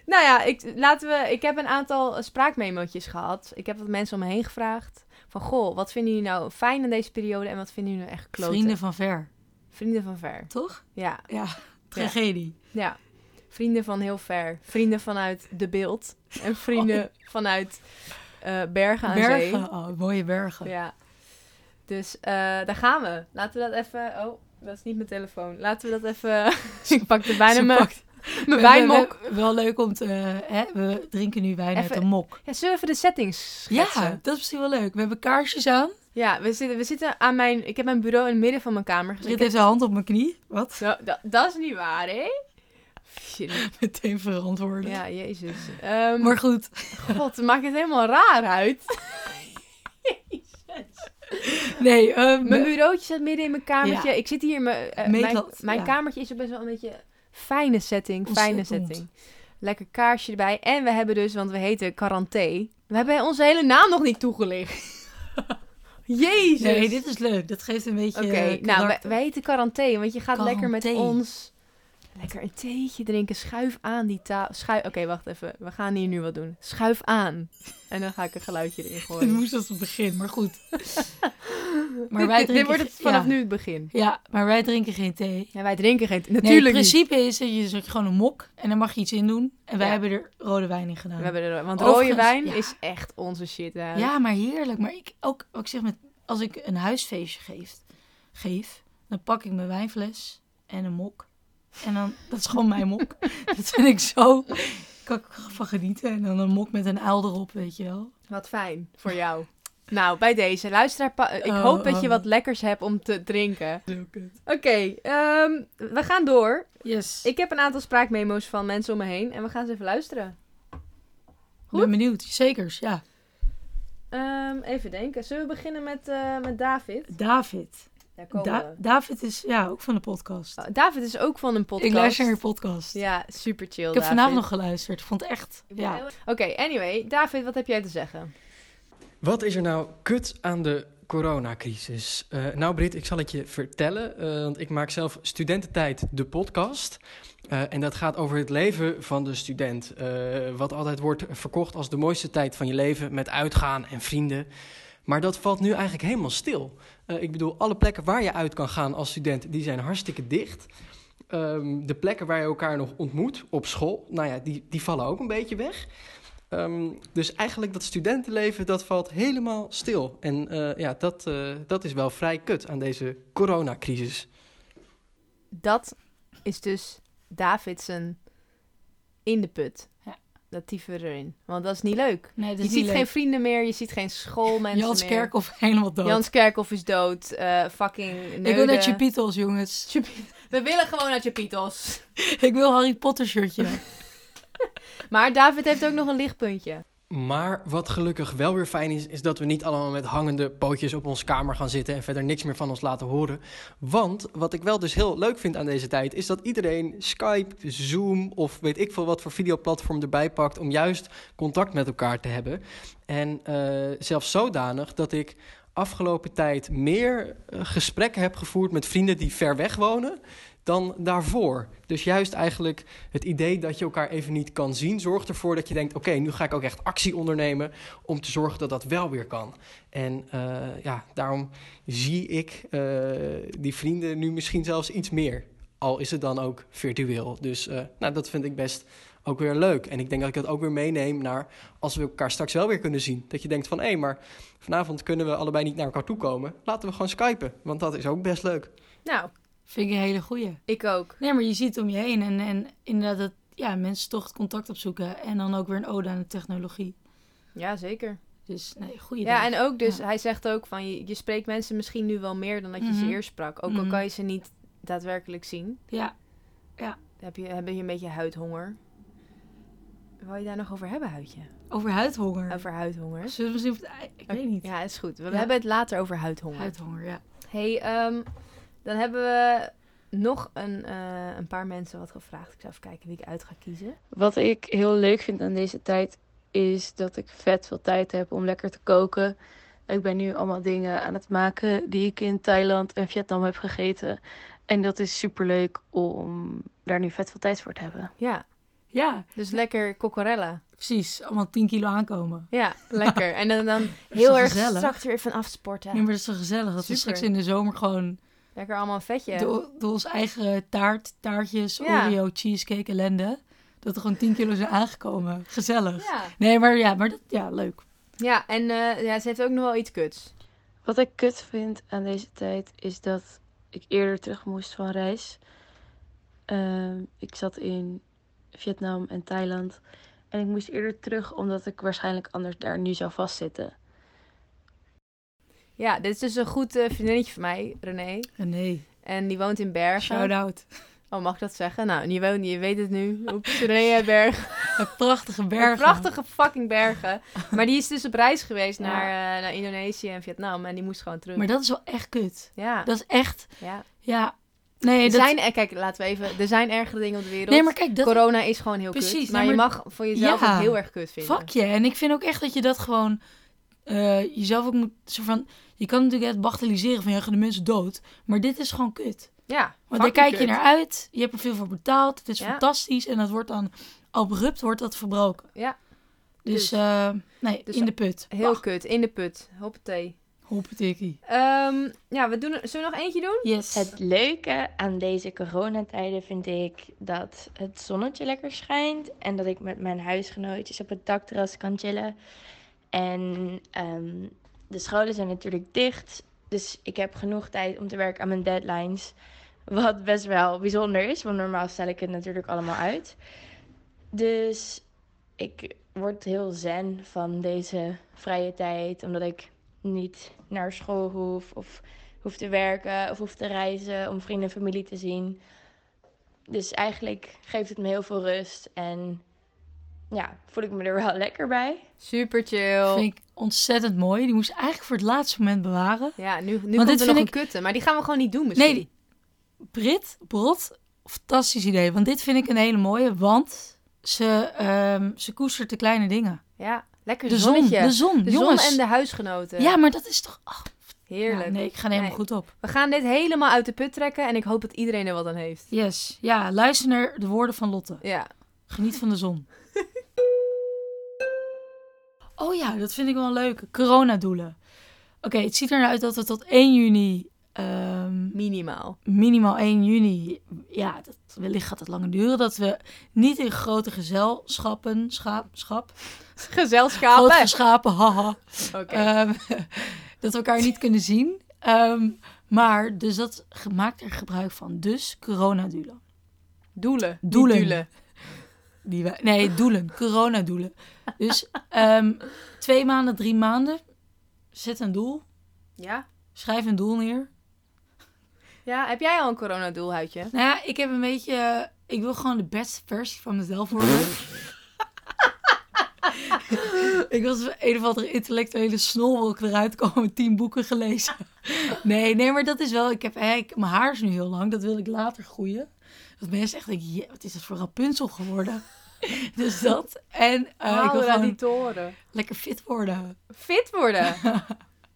Speaker 1: nou ja, ik, laten we, ik heb een aantal eh, spraakmemootjes gehad. Ik heb wat mensen om me heen gevraagd. Van, goh, wat vinden jullie nou fijn in deze periode en wat vinden jullie nou echt kloten?
Speaker 2: Vrienden van ver,
Speaker 1: Vrienden van ver.
Speaker 2: toch?
Speaker 1: Ja,
Speaker 2: Ja, tragedie.
Speaker 1: ja. Vrienden van heel ver. Vrienden vanuit de beeld. En vrienden vanuit eh, Oh. bergen aan zee.
Speaker 2: Bergen, oh, mooie bergen.
Speaker 1: Ja. Dus eh, daar gaan we. Laten we dat even... Oh, dat is niet mijn telefoon. Laten we dat even... ik pak er bijna
Speaker 2: Ze
Speaker 1: mijn,
Speaker 2: pakt-
Speaker 1: mijn
Speaker 2: We- we-
Speaker 1: wijnmok.
Speaker 2: we- Wel leuk om te... eh, hè, we drinken nu wijn uit
Speaker 1: Even-
Speaker 2: een mok.
Speaker 1: Ja, zullen we even de settings
Speaker 2: Ja,
Speaker 1: schetsen?
Speaker 2: dat is misschien wel leuk. We hebben kaarsjes aan.
Speaker 1: Ja, we, zitten, we zitten aan mijn... Ik heb mijn bureau in het midden van mijn kamer gezet.
Speaker 2: Brit heeft zijn hand op mijn knie. Wat?
Speaker 1: Zo, dat, dat is niet waar, hè? Shit.
Speaker 2: Meteen verantwoorden.
Speaker 1: Ja, jezus. Ehm,
Speaker 2: Maar goed,
Speaker 1: god, maakt het helemaal raar uit.
Speaker 2: nee. ehm,
Speaker 1: Mijn
Speaker 2: we-
Speaker 1: bureautje zit midden in mijn kamertje. Ik zit hier in mijn... eh, mijn
Speaker 2: Meetlat,
Speaker 1: mijn
Speaker 2: ja.
Speaker 1: kamertje is ook best wel een beetje fijne setting. Fijne
Speaker 2: Ontzettend.
Speaker 1: setting. Lekker kaarsje erbij. En we hebben dus, want we heten Quaranté. We hebben onze hele naam nog niet toegelicht. Jezus.
Speaker 2: nee, dit is leuk. Dat geeft een beetje...
Speaker 1: Oké,
Speaker 2: eh,
Speaker 1: nou, wij,
Speaker 2: karakter.
Speaker 1: wij heten Quaranté. Want je gaat lekker met
Speaker 2: Quaranté.
Speaker 1: ons... Lekker een theetje drinken. Schuif aan die tafel. Schuif... Oké, wacht even. We gaan hier nu wat doen. Schuif aan. En dan ga ik een geluidje erin
Speaker 2: Het
Speaker 1: gooien.
Speaker 2: moest als het begin, maar goed. maar
Speaker 1: Dit-
Speaker 2: wij
Speaker 1: dit,
Speaker 2: drinken
Speaker 1: wordt het
Speaker 2: ge-
Speaker 1: vanaf
Speaker 2: ja.
Speaker 1: nu het begin.
Speaker 2: Ja, maar wij drinken geen thee.
Speaker 1: Ja, wij drinken geen... Natuurlijk
Speaker 2: Nee, het
Speaker 1: niet.
Speaker 2: principe is dat je, dat je gewoon een mok en daar mag je iets in doen. En wij
Speaker 1: Ja.
Speaker 2: hebben er rode wijn in gedaan.
Speaker 1: We hebben er, want
Speaker 2: Overigens,
Speaker 1: rode wijn
Speaker 2: ja.
Speaker 1: is echt onze shit. Hè?
Speaker 2: Ja, maar heerlijk. Maar ik ook, wat ik zeg met, als ik een huisfeestje geef, geef, dan pak ik mijn wijnfles en een mok. En dan, dat is gewoon mijn mok. Dat vind ik zo, kan ik van genieten. En dan een mok met een uil erop, weet je wel.
Speaker 1: Wat fijn voor jou. Nou, bij deze. Luisteraar, pa- ik
Speaker 2: Oh,
Speaker 1: hoop dat je
Speaker 2: oh.
Speaker 1: wat lekkers hebt om te drinken. Oké, ehm, we gaan door.
Speaker 2: Yes. Ik
Speaker 1: Ik heb een aantal spraakmemo's van mensen om me heen. En we gaan ze even luisteren. goed.
Speaker 2: ben benieuwd. Zekers, ja.
Speaker 1: Ehm, even denken. Zullen we beginnen met, eh, met David?
Speaker 2: David.
Speaker 1: Daar komen
Speaker 2: Da- David is, ja, ook van de podcast.
Speaker 1: we. Oh, David is ook van een podcast.
Speaker 2: Ik luister naar je podcast.
Speaker 1: Ja, super chill.
Speaker 2: ik heb vanavond nog geluisterd. Ik vond het echt. Ja.
Speaker 1: Oké, anyway. David, wat heb jij te zeggen?
Speaker 6: Wat is er nou kut aan de coronacrisis? Eh, nou, Brit, ik zal het je vertellen. eh, want ik maak zelf Studententijd de podcast. Eh, en dat gaat over het leven van de student. eh, wat altijd wordt verkocht als de mooiste tijd van je leven met uitgaan en vrienden. Maar dat valt nu eigenlijk helemaal stil. Eh, ik bedoel, alle plekken waar je uit kan gaan als student, die zijn hartstikke dicht. Ehm, de plekken waar je elkaar nog ontmoet op school, nou ja, die, die vallen ook een beetje weg. Ehm, dus eigenlijk dat studentenleven, dat valt helemaal stil. En eh, ja, dat, eh, dat is wel vrij kut aan deze coronacrisis.
Speaker 1: Dat is dus Davidson in de put.
Speaker 2: Ja.
Speaker 1: Dat typen we erin. Want dat is niet leuk.
Speaker 2: Nee, dat
Speaker 1: Je
Speaker 2: is
Speaker 1: ziet
Speaker 2: niet leuk.
Speaker 1: geen vrienden meer, je ziet geen schoolmensen
Speaker 2: Jans
Speaker 1: meer.
Speaker 2: Kerkhoff helemaal dood.
Speaker 1: Jans Kerkhoff is dood. eh, fucking neude.
Speaker 2: ik wil naar Chepitos, jongens.
Speaker 1: We willen gewoon naar Chapitos.
Speaker 2: Ik wil Harry Potter shirtje.
Speaker 1: Maar David heeft ook nog een lichtpuntje.
Speaker 6: Maar wat gelukkig wel weer fijn is, is dat we niet allemaal met hangende pootjes op ons kamer gaan zitten en verder niks meer van ons laten horen. Want wat ik wel dus heel leuk vind aan deze tijd, is dat iedereen Skype, Zoom of weet ik veel wat voor videoplatform erbij pakt om juist contact met elkaar te hebben. En eh, zelfs zodanig dat ik afgelopen tijd meer eh, gesprekken heb gevoerd met vrienden die ver weg wonen dan daarvoor. Dus juist eigenlijk het idee dat je elkaar even niet kan zien, zorgt ervoor dat je denkt: oké, nu ga ik ook echt actie ondernemen om te zorgen dat dat wel weer kan. En eh, ja, daarom zie ik eh, die vrienden nu misschien zelfs iets meer. Al is het dan ook virtueel. Dus eh, nou, dat vind ik best ook weer leuk. En ik denk dat ik dat ook weer meeneem naar als we elkaar straks wel weer kunnen zien. Dat je denkt van hé, maar vanavond kunnen we allebei niet naar elkaar toe komen. Laten we gewoon skypen, want dat is ook best leuk.
Speaker 1: Nou,
Speaker 2: Vind ik een hele goeie.
Speaker 1: ik ook.
Speaker 2: Nee, maar je ziet om je heen en, en inderdaad dat ja, mensen toch het contact opzoeken. En dan ook weer een ode aan de technologie.
Speaker 1: Ja, zeker.
Speaker 2: Dus nee, goede
Speaker 1: Ja,
Speaker 2: dag.
Speaker 1: en ook dus,
Speaker 2: Ja.
Speaker 1: hij zegt ook van, je, je spreekt mensen misschien nu wel meer dan dat je ze
Speaker 2: Mhm.
Speaker 1: eerst sprak. Ook al
Speaker 2: Mhm.
Speaker 1: kan je ze niet daadwerkelijk zien.
Speaker 2: Ja,
Speaker 1: Heb je, heb je een beetje huidhonger. Wil je daar nog over hebben, huidje?
Speaker 2: over huidhonger.
Speaker 1: Over huidhonger.
Speaker 2: Zullen we misschien... op het ei- Ik weet niet.
Speaker 1: Ja, is goed. We
Speaker 2: Ja.
Speaker 1: hebben het later over huidhonger.
Speaker 2: Huidhonger, ja.
Speaker 1: hey, ehm, dan hebben we nog een, eh, een paar mensen wat gevraagd. Ik zou even kijken wie ik uit ga kiezen.
Speaker 7: Wat ik heel leuk vind aan deze tijd is dat ik vet veel tijd heb om lekker te koken. Ik ben nu allemaal dingen aan het maken die ik in Thailand en Vietnam heb gegeten. En dat is super leuk om daar nu vet veel tijd voor te hebben.
Speaker 1: Ja,
Speaker 2: Ja,
Speaker 1: dus lekker cocorella.
Speaker 2: precies. Allemaal 10 kilo aankomen.
Speaker 1: Ja, lekker. En dan, dan
Speaker 2: is
Speaker 1: heel
Speaker 2: toch
Speaker 1: erg
Speaker 2: gezellig?
Speaker 1: straks weer van
Speaker 2: Nee,
Speaker 1: afsporten.
Speaker 2: maar dat is zo gezellig. Dat we
Speaker 1: Super.
Speaker 2: straks in de zomer gewoon
Speaker 1: Lekker allemaal een vetje.
Speaker 2: door, door ons eigen taart, taartjes,
Speaker 1: Ja.
Speaker 2: Oreo, cheesecake ellende... dat er gewoon 10 kilo zijn aangekomen. Gezellig.
Speaker 1: Ja.
Speaker 2: Nee, maar ja, maar dat, ja, leuk.
Speaker 1: ja, en eh, ja, ze heeft ook nog wel iets kuts.
Speaker 7: Wat ik kut vind aan deze tijd is dat ik eerder terug moest van reis. Ehm, ik zat in Vietnam en Thailand. En ik moest eerder terug omdat ik waarschijnlijk anders daar nu zou vastzitten.
Speaker 1: Ja, dit is dus een goed eh, vriendinnetje van mij, René.
Speaker 2: Nee,
Speaker 1: En die woont in Bergen.
Speaker 2: shout-out.
Speaker 1: Oh, mag ik dat zeggen? Nou, en je, woont, je weet het nu. Oeps, René Bergen.
Speaker 2: Een prachtige
Speaker 1: Een
Speaker 2: berg.
Speaker 1: Prachtige fucking bergen. Maar die is dus op reis geweest naar, eh, naar Indonesië en Vietnam. En die moest gewoon terug.
Speaker 2: Maar dat is wel echt kut.
Speaker 1: ja,
Speaker 2: Dat is echt,
Speaker 1: ja.
Speaker 2: ja. Nee,
Speaker 1: Er
Speaker 2: dat,
Speaker 1: zijn, eh, kijk, laten we even. Er zijn ergere dingen op de wereld.
Speaker 2: nee maar kijk, dat
Speaker 1: Corona is gewoon heel
Speaker 2: Precies,
Speaker 1: kut.
Speaker 2: nee,
Speaker 1: Maar, je
Speaker 2: maar-
Speaker 1: mag voor jezelf
Speaker 2: Ja.
Speaker 1: het heel erg kut vinden.
Speaker 2: fuck je. En ik vind ook echt dat je dat gewoon eh, jezelf ook moet, soort van, je kan natuurlijk echt bagatelliseren van, ja, gaan de mensen dood. Maar dit is gewoon kut.
Speaker 1: Ja. fucking
Speaker 2: Want daar kijk je
Speaker 1: kut.
Speaker 2: naar uit, je hebt er veel voor betaald, het is
Speaker 1: Ja.
Speaker 2: fantastisch. En dat wordt dan, abrupt wordt dat verbroken.
Speaker 1: Ja.
Speaker 2: Dus,
Speaker 1: Dus-
Speaker 2: eh, nee,
Speaker 1: dus
Speaker 2: in de put. Ah,
Speaker 1: Heel
Speaker 2: Ach,
Speaker 1: kut. In de put. Hoppatee.
Speaker 2: Hoppetikkie.
Speaker 1: Ehm ja, we doen, zullen we nog eentje doen?
Speaker 2: Yes.
Speaker 8: Het leuke aan deze coronatijden vind ik dat het zonnetje lekker schijnt en dat ik met mijn huisgenootjes op het dakterras kan chillen. En ehm, de scholen zijn natuurlijk dicht, dus ik heb genoeg tijd om te werken aan mijn deadlines. Wat best wel bijzonder is, want normaal stel ik het natuurlijk allemaal uit. Dus ik word heel zen van deze vrije tijd, omdat ik niet naar school hoef of hoef te werken of hoef te reizen om vrienden en familie te zien. Dus eigenlijk geeft het me heel veel rust en ja, voel ik me er wel lekker bij.
Speaker 1: Super chill.
Speaker 2: Vind ik ontzettend mooi. Die moest ik eigenlijk voor het laatste moment bewaren.
Speaker 1: Ja, nu, nu
Speaker 2: dit
Speaker 1: komt er
Speaker 2: vind
Speaker 1: nog een
Speaker 2: ik-
Speaker 1: kutte. Maar die gaan we gewoon niet doen misschien.
Speaker 2: Nee, die- Brit, Brot, fantastisch idee. Want dit vind ik een hele mooie, want ze, ehm, ze koestert de kleine dingen.
Speaker 1: Ja, lekker
Speaker 2: De zon,
Speaker 1: zonnetje.
Speaker 2: de zon,
Speaker 1: De
Speaker 2: jongens.
Speaker 1: en de huisgenoten.
Speaker 2: Ja, maar dat is toch... Ach,
Speaker 1: Heerlijk.
Speaker 2: ja, nee, ik ga er helemaal
Speaker 1: Nee.
Speaker 2: goed op.
Speaker 1: We gaan dit helemaal uit de put trekken en ik hoop dat iedereen er wat aan heeft.
Speaker 2: Yes, ja, luister naar de woorden van Lotte.
Speaker 1: Ja.
Speaker 2: Geniet van de zon. Oh ja, dat vind ik wel leuk. Coronadoelen. Oké, het ziet er naar uit dat we tot 1 juni ehm,
Speaker 1: Minimaal.
Speaker 2: minimaal 1 juni, ja, dat, wellicht gaat het langer duren, dat we niet in grote gezelschappen, schaap, schap, grote
Speaker 1: Gezelschappen.
Speaker 2: geschapen, haha,
Speaker 1: Oké.
Speaker 2: ehm, dat we elkaar niet kunnen zien. Ehm, maar, dus dat ge- maakt er gebruik van. Dus coronadoelen.
Speaker 1: doelen. niet
Speaker 2: doelen.
Speaker 1: Doelen.
Speaker 2: Die wij, nee, doelen, coronadoelen. Dus ehm, twee maanden, drie maanden, zet een doel,
Speaker 1: Ja?
Speaker 2: schrijf een doel neer.
Speaker 1: Ja, heb jij al een coronadoel, Huidje?
Speaker 2: Eh, Nou ja, ik heb een beetje Ik wil gewoon de beste versie van mezelf worden. ik was een of andere intellectuele snolwolk eruit komen, tien boeken gelezen. Nee, nee, maar dat is wel... Ik heb, hè, ik- mijn haar is nu heel lang, dat wil ik later groeien. Dat mensen echt denken, "Jee, wat is dat voor Rapunzel geworden? dus dat. En eh, ik wil gewoon
Speaker 1: toren.
Speaker 2: lekker fit worden.
Speaker 1: Fit worden.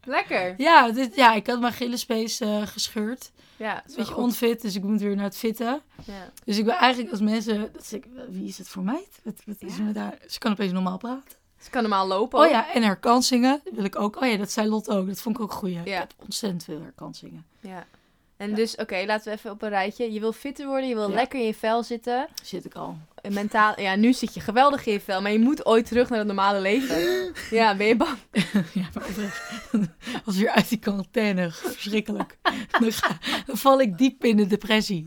Speaker 1: Lekker.
Speaker 2: Ja, dit, ja ik had mijn gillespace eh gescheurd.
Speaker 1: Ja,
Speaker 2: Een
Speaker 1: is wel
Speaker 2: beetje
Speaker 1: goed.
Speaker 2: onfit, dus ik moet weer naar het fitten.
Speaker 1: Ja.
Speaker 2: Dus ik ben eigenlijk als mensen... Dat zeg ik, wie is het voor mij? Wat, wat is er met haar? Ze kan opeens normaal praten.
Speaker 1: Ze Dus kan normaal lopen.
Speaker 2: Oh
Speaker 1: ook.
Speaker 2: ja, en herkansingen wil ik ook. Oh ja, dat zei Lot ook. Dat vond ik ook goed. Ik
Speaker 1: Ja.
Speaker 2: heb ontzettend veel herkansingen.
Speaker 1: Ja. En dus, oké, laten we even op een rijtje. Je wil fitter worden, je wil
Speaker 2: Ja.
Speaker 1: lekker in je vel zitten.
Speaker 2: Zit ik al.
Speaker 1: En Mentaal, ja, nu zit je geweldig in je vel, maar je moet ooit terug naar het normale leven. Ja, ben je bang?
Speaker 2: Ja, maar oprecht. Als we weer uit die quarantaine, verschrikkelijk. Dan, ga- dan val ik diep in de depressie.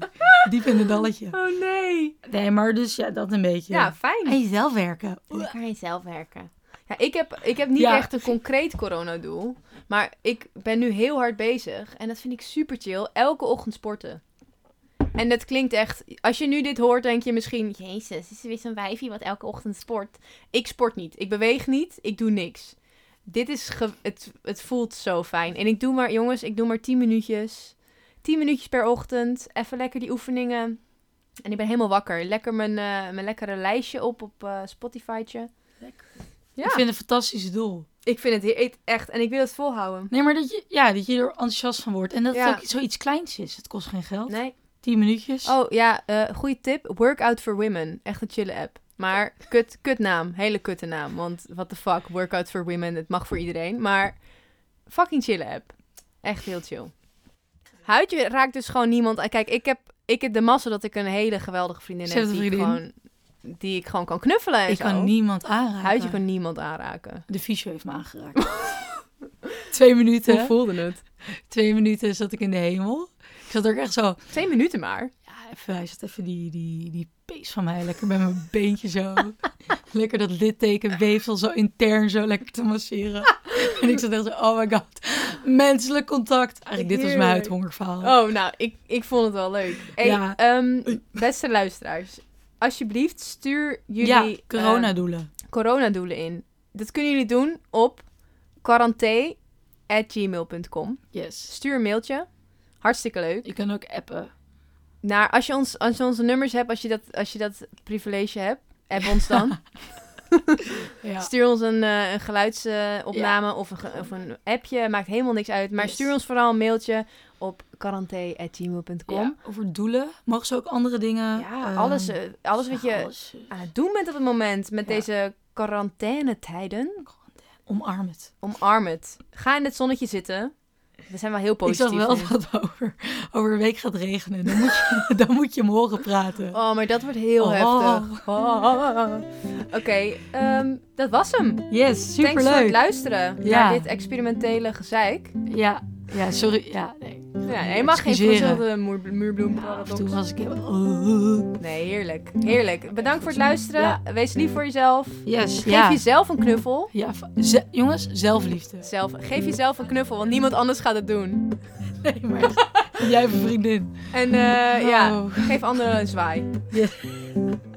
Speaker 2: Diep in een dalletje.
Speaker 1: Oh nee.
Speaker 2: Nee, maar dus ja, dat een beetje.
Speaker 1: Ja, fijn.
Speaker 2: Aan jezelf werken.
Speaker 1: Lekker aan jezelf werken. Ja, ik heb, ik heb niet
Speaker 2: Ja.
Speaker 1: echt een concreet coronadoel, maar ik ben nu heel hard bezig en dat vind ik super chill. Elke ochtend sporten. En dat klinkt echt, als je nu dit hoort, denk je misschien, jezus, is er weer zo'n wijfje wat elke ochtend sport. Ik sport niet, ik beweeg niet, ik doe niks. Dit is, ge- het, het voelt zo fijn. En ik doe maar, jongens, ik doe maar 10 minuutjes. 10 minuutjes per ochtend, even lekker die oefeningen. En ik ben helemaal wakker. Lekker mijn, eh, mijn lekkere lijstje op op eh Spotify'tje. Ja.
Speaker 2: Ik vind het een fantastisch doel.
Speaker 1: Ik vind het he- echt, en ik wil het volhouden.
Speaker 2: Nee, maar dat je, ja, dat je er enthousiast van wordt. En dat
Speaker 1: Ja.
Speaker 2: het ook zoiets kleins is. Het kost geen geld.
Speaker 1: Nee.
Speaker 2: 10 minuutjes.
Speaker 1: Oh ja, eh goede tip. Workout for Women. Echt een chille app. Maar kut, kut naam. Hele kutte naam. Want what the fuck, Workout for Women. Het mag voor iedereen. Maar fucking chille app. Echt heel chill. Huidje raakt dus gewoon niemand. aan. Kijk, ik heb, ik heb de massa dat ik een hele geweldige vriendin
Speaker 2: Ze
Speaker 1: heb.
Speaker 2: heeft
Speaker 1: Die
Speaker 2: een
Speaker 1: ik, gewoon,
Speaker 2: vriendin.
Speaker 1: die ik gewoon kan knuffelen en
Speaker 2: ik
Speaker 1: zo.
Speaker 2: kan niemand aanraken.
Speaker 1: Huidje kan niemand aanraken.
Speaker 2: De fysio heeft me aangeraakt. Twee minuten.
Speaker 1: voelde het?
Speaker 2: Twee minuten zat ik in de hemel. Ik zat ook echt zo...
Speaker 1: Twee minuten maar.
Speaker 2: Ja, even, hij zat even die, die, die pees van mij lekker bij mijn beentje zo. lekker dat littekenweefsel zo intern zo lekker te masseren. en ik zat echt zo, oh my god. Menselijk contact. Eigenlijk, dit was mijn
Speaker 1: Heerlijk.
Speaker 2: huidhongerverhaal.
Speaker 1: Oh, nou, ik, ik vond het wel leuk. Hey,
Speaker 2: Ja.
Speaker 1: ehm, beste luisteraars, alsjeblieft stuur jullie
Speaker 2: ja, coronadoelen.
Speaker 1: eh, coronadoelen in. Dat kunnen jullie doen op quaranté.gmail.com.
Speaker 2: yes.
Speaker 1: Stuur een mailtje. Hartstikke leuk.
Speaker 2: Je kan ook appen.
Speaker 1: Naar, als, je ons, als je onze nummers hebt, als je dat, als je dat privilege hebt, app ons dan.
Speaker 2: Ja.
Speaker 1: Stuur ons een, eh, een geluidsopname of, een, ge- of een appje. Maakt helemaal niks uit. Maar
Speaker 2: Yes.
Speaker 1: stuur ons vooral een mailtje op quaranté.gmail.com.
Speaker 2: Ja, over doelen. Mogen ze ook andere dingen?
Speaker 1: Ja,
Speaker 2: ehm,
Speaker 1: alles, eh, alles wat je
Speaker 2: alles, eh,
Speaker 1: aan het Ah, doen bent op het moment met
Speaker 2: Ja.
Speaker 1: deze quarantainetijden,
Speaker 2: Omarm het.
Speaker 1: omarm het. Ga in het zonnetje zitten. We zijn wel heel positief.
Speaker 2: ik zag wel
Speaker 1: in.
Speaker 2: dat het over, over een week gaat regenen. Dan moet je, dan moet je morgen praten.
Speaker 1: Oh, maar dat wordt heel
Speaker 2: Oh.
Speaker 1: heftig. Oh. Oké, ehm, dat was hem. Thanks
Speaker 2: Yes,
Speaker 1: voor het
Speaker 2: superleuk.
Speaker 1: luisteren
Speaker 2: Ja.
Speaker 1: naar dit experimentele gezeik.
Speaker 2: Ja, ja, sorry. Ja, nee.
Speaker 1: Ja, helemaal geen
Speaker 2: Excuseren.
Speaker 1: verzilde muur, muurbloem.
Speaker 2: Ja, af en toe was ik eh. heel...
Speaker 1: Nee, heerlijk. Heerlijk. Bedankt voor het luisteren.
Speaker 2: Ja.
Speaker 1: Wees lief voor jezelf.
Speaker 2: Yes,
Speaker 1: Geef
Speaker 2: ja.
Speaker 1: jezelf een knuffel.
Speaker 2: ja v- ze- jongens, zelfliefde.
Speaker 1: Zelf, geef jezelf een knuffel, want niemand anders gaat het doen.
Speaker 2: Nee, maar jij hebt een vriendin.
Speaker 1: En eh, ja,
Speaker 2: Oh.
Speaker 1: geef anderen een zwaai.
Speaker 2: Ja.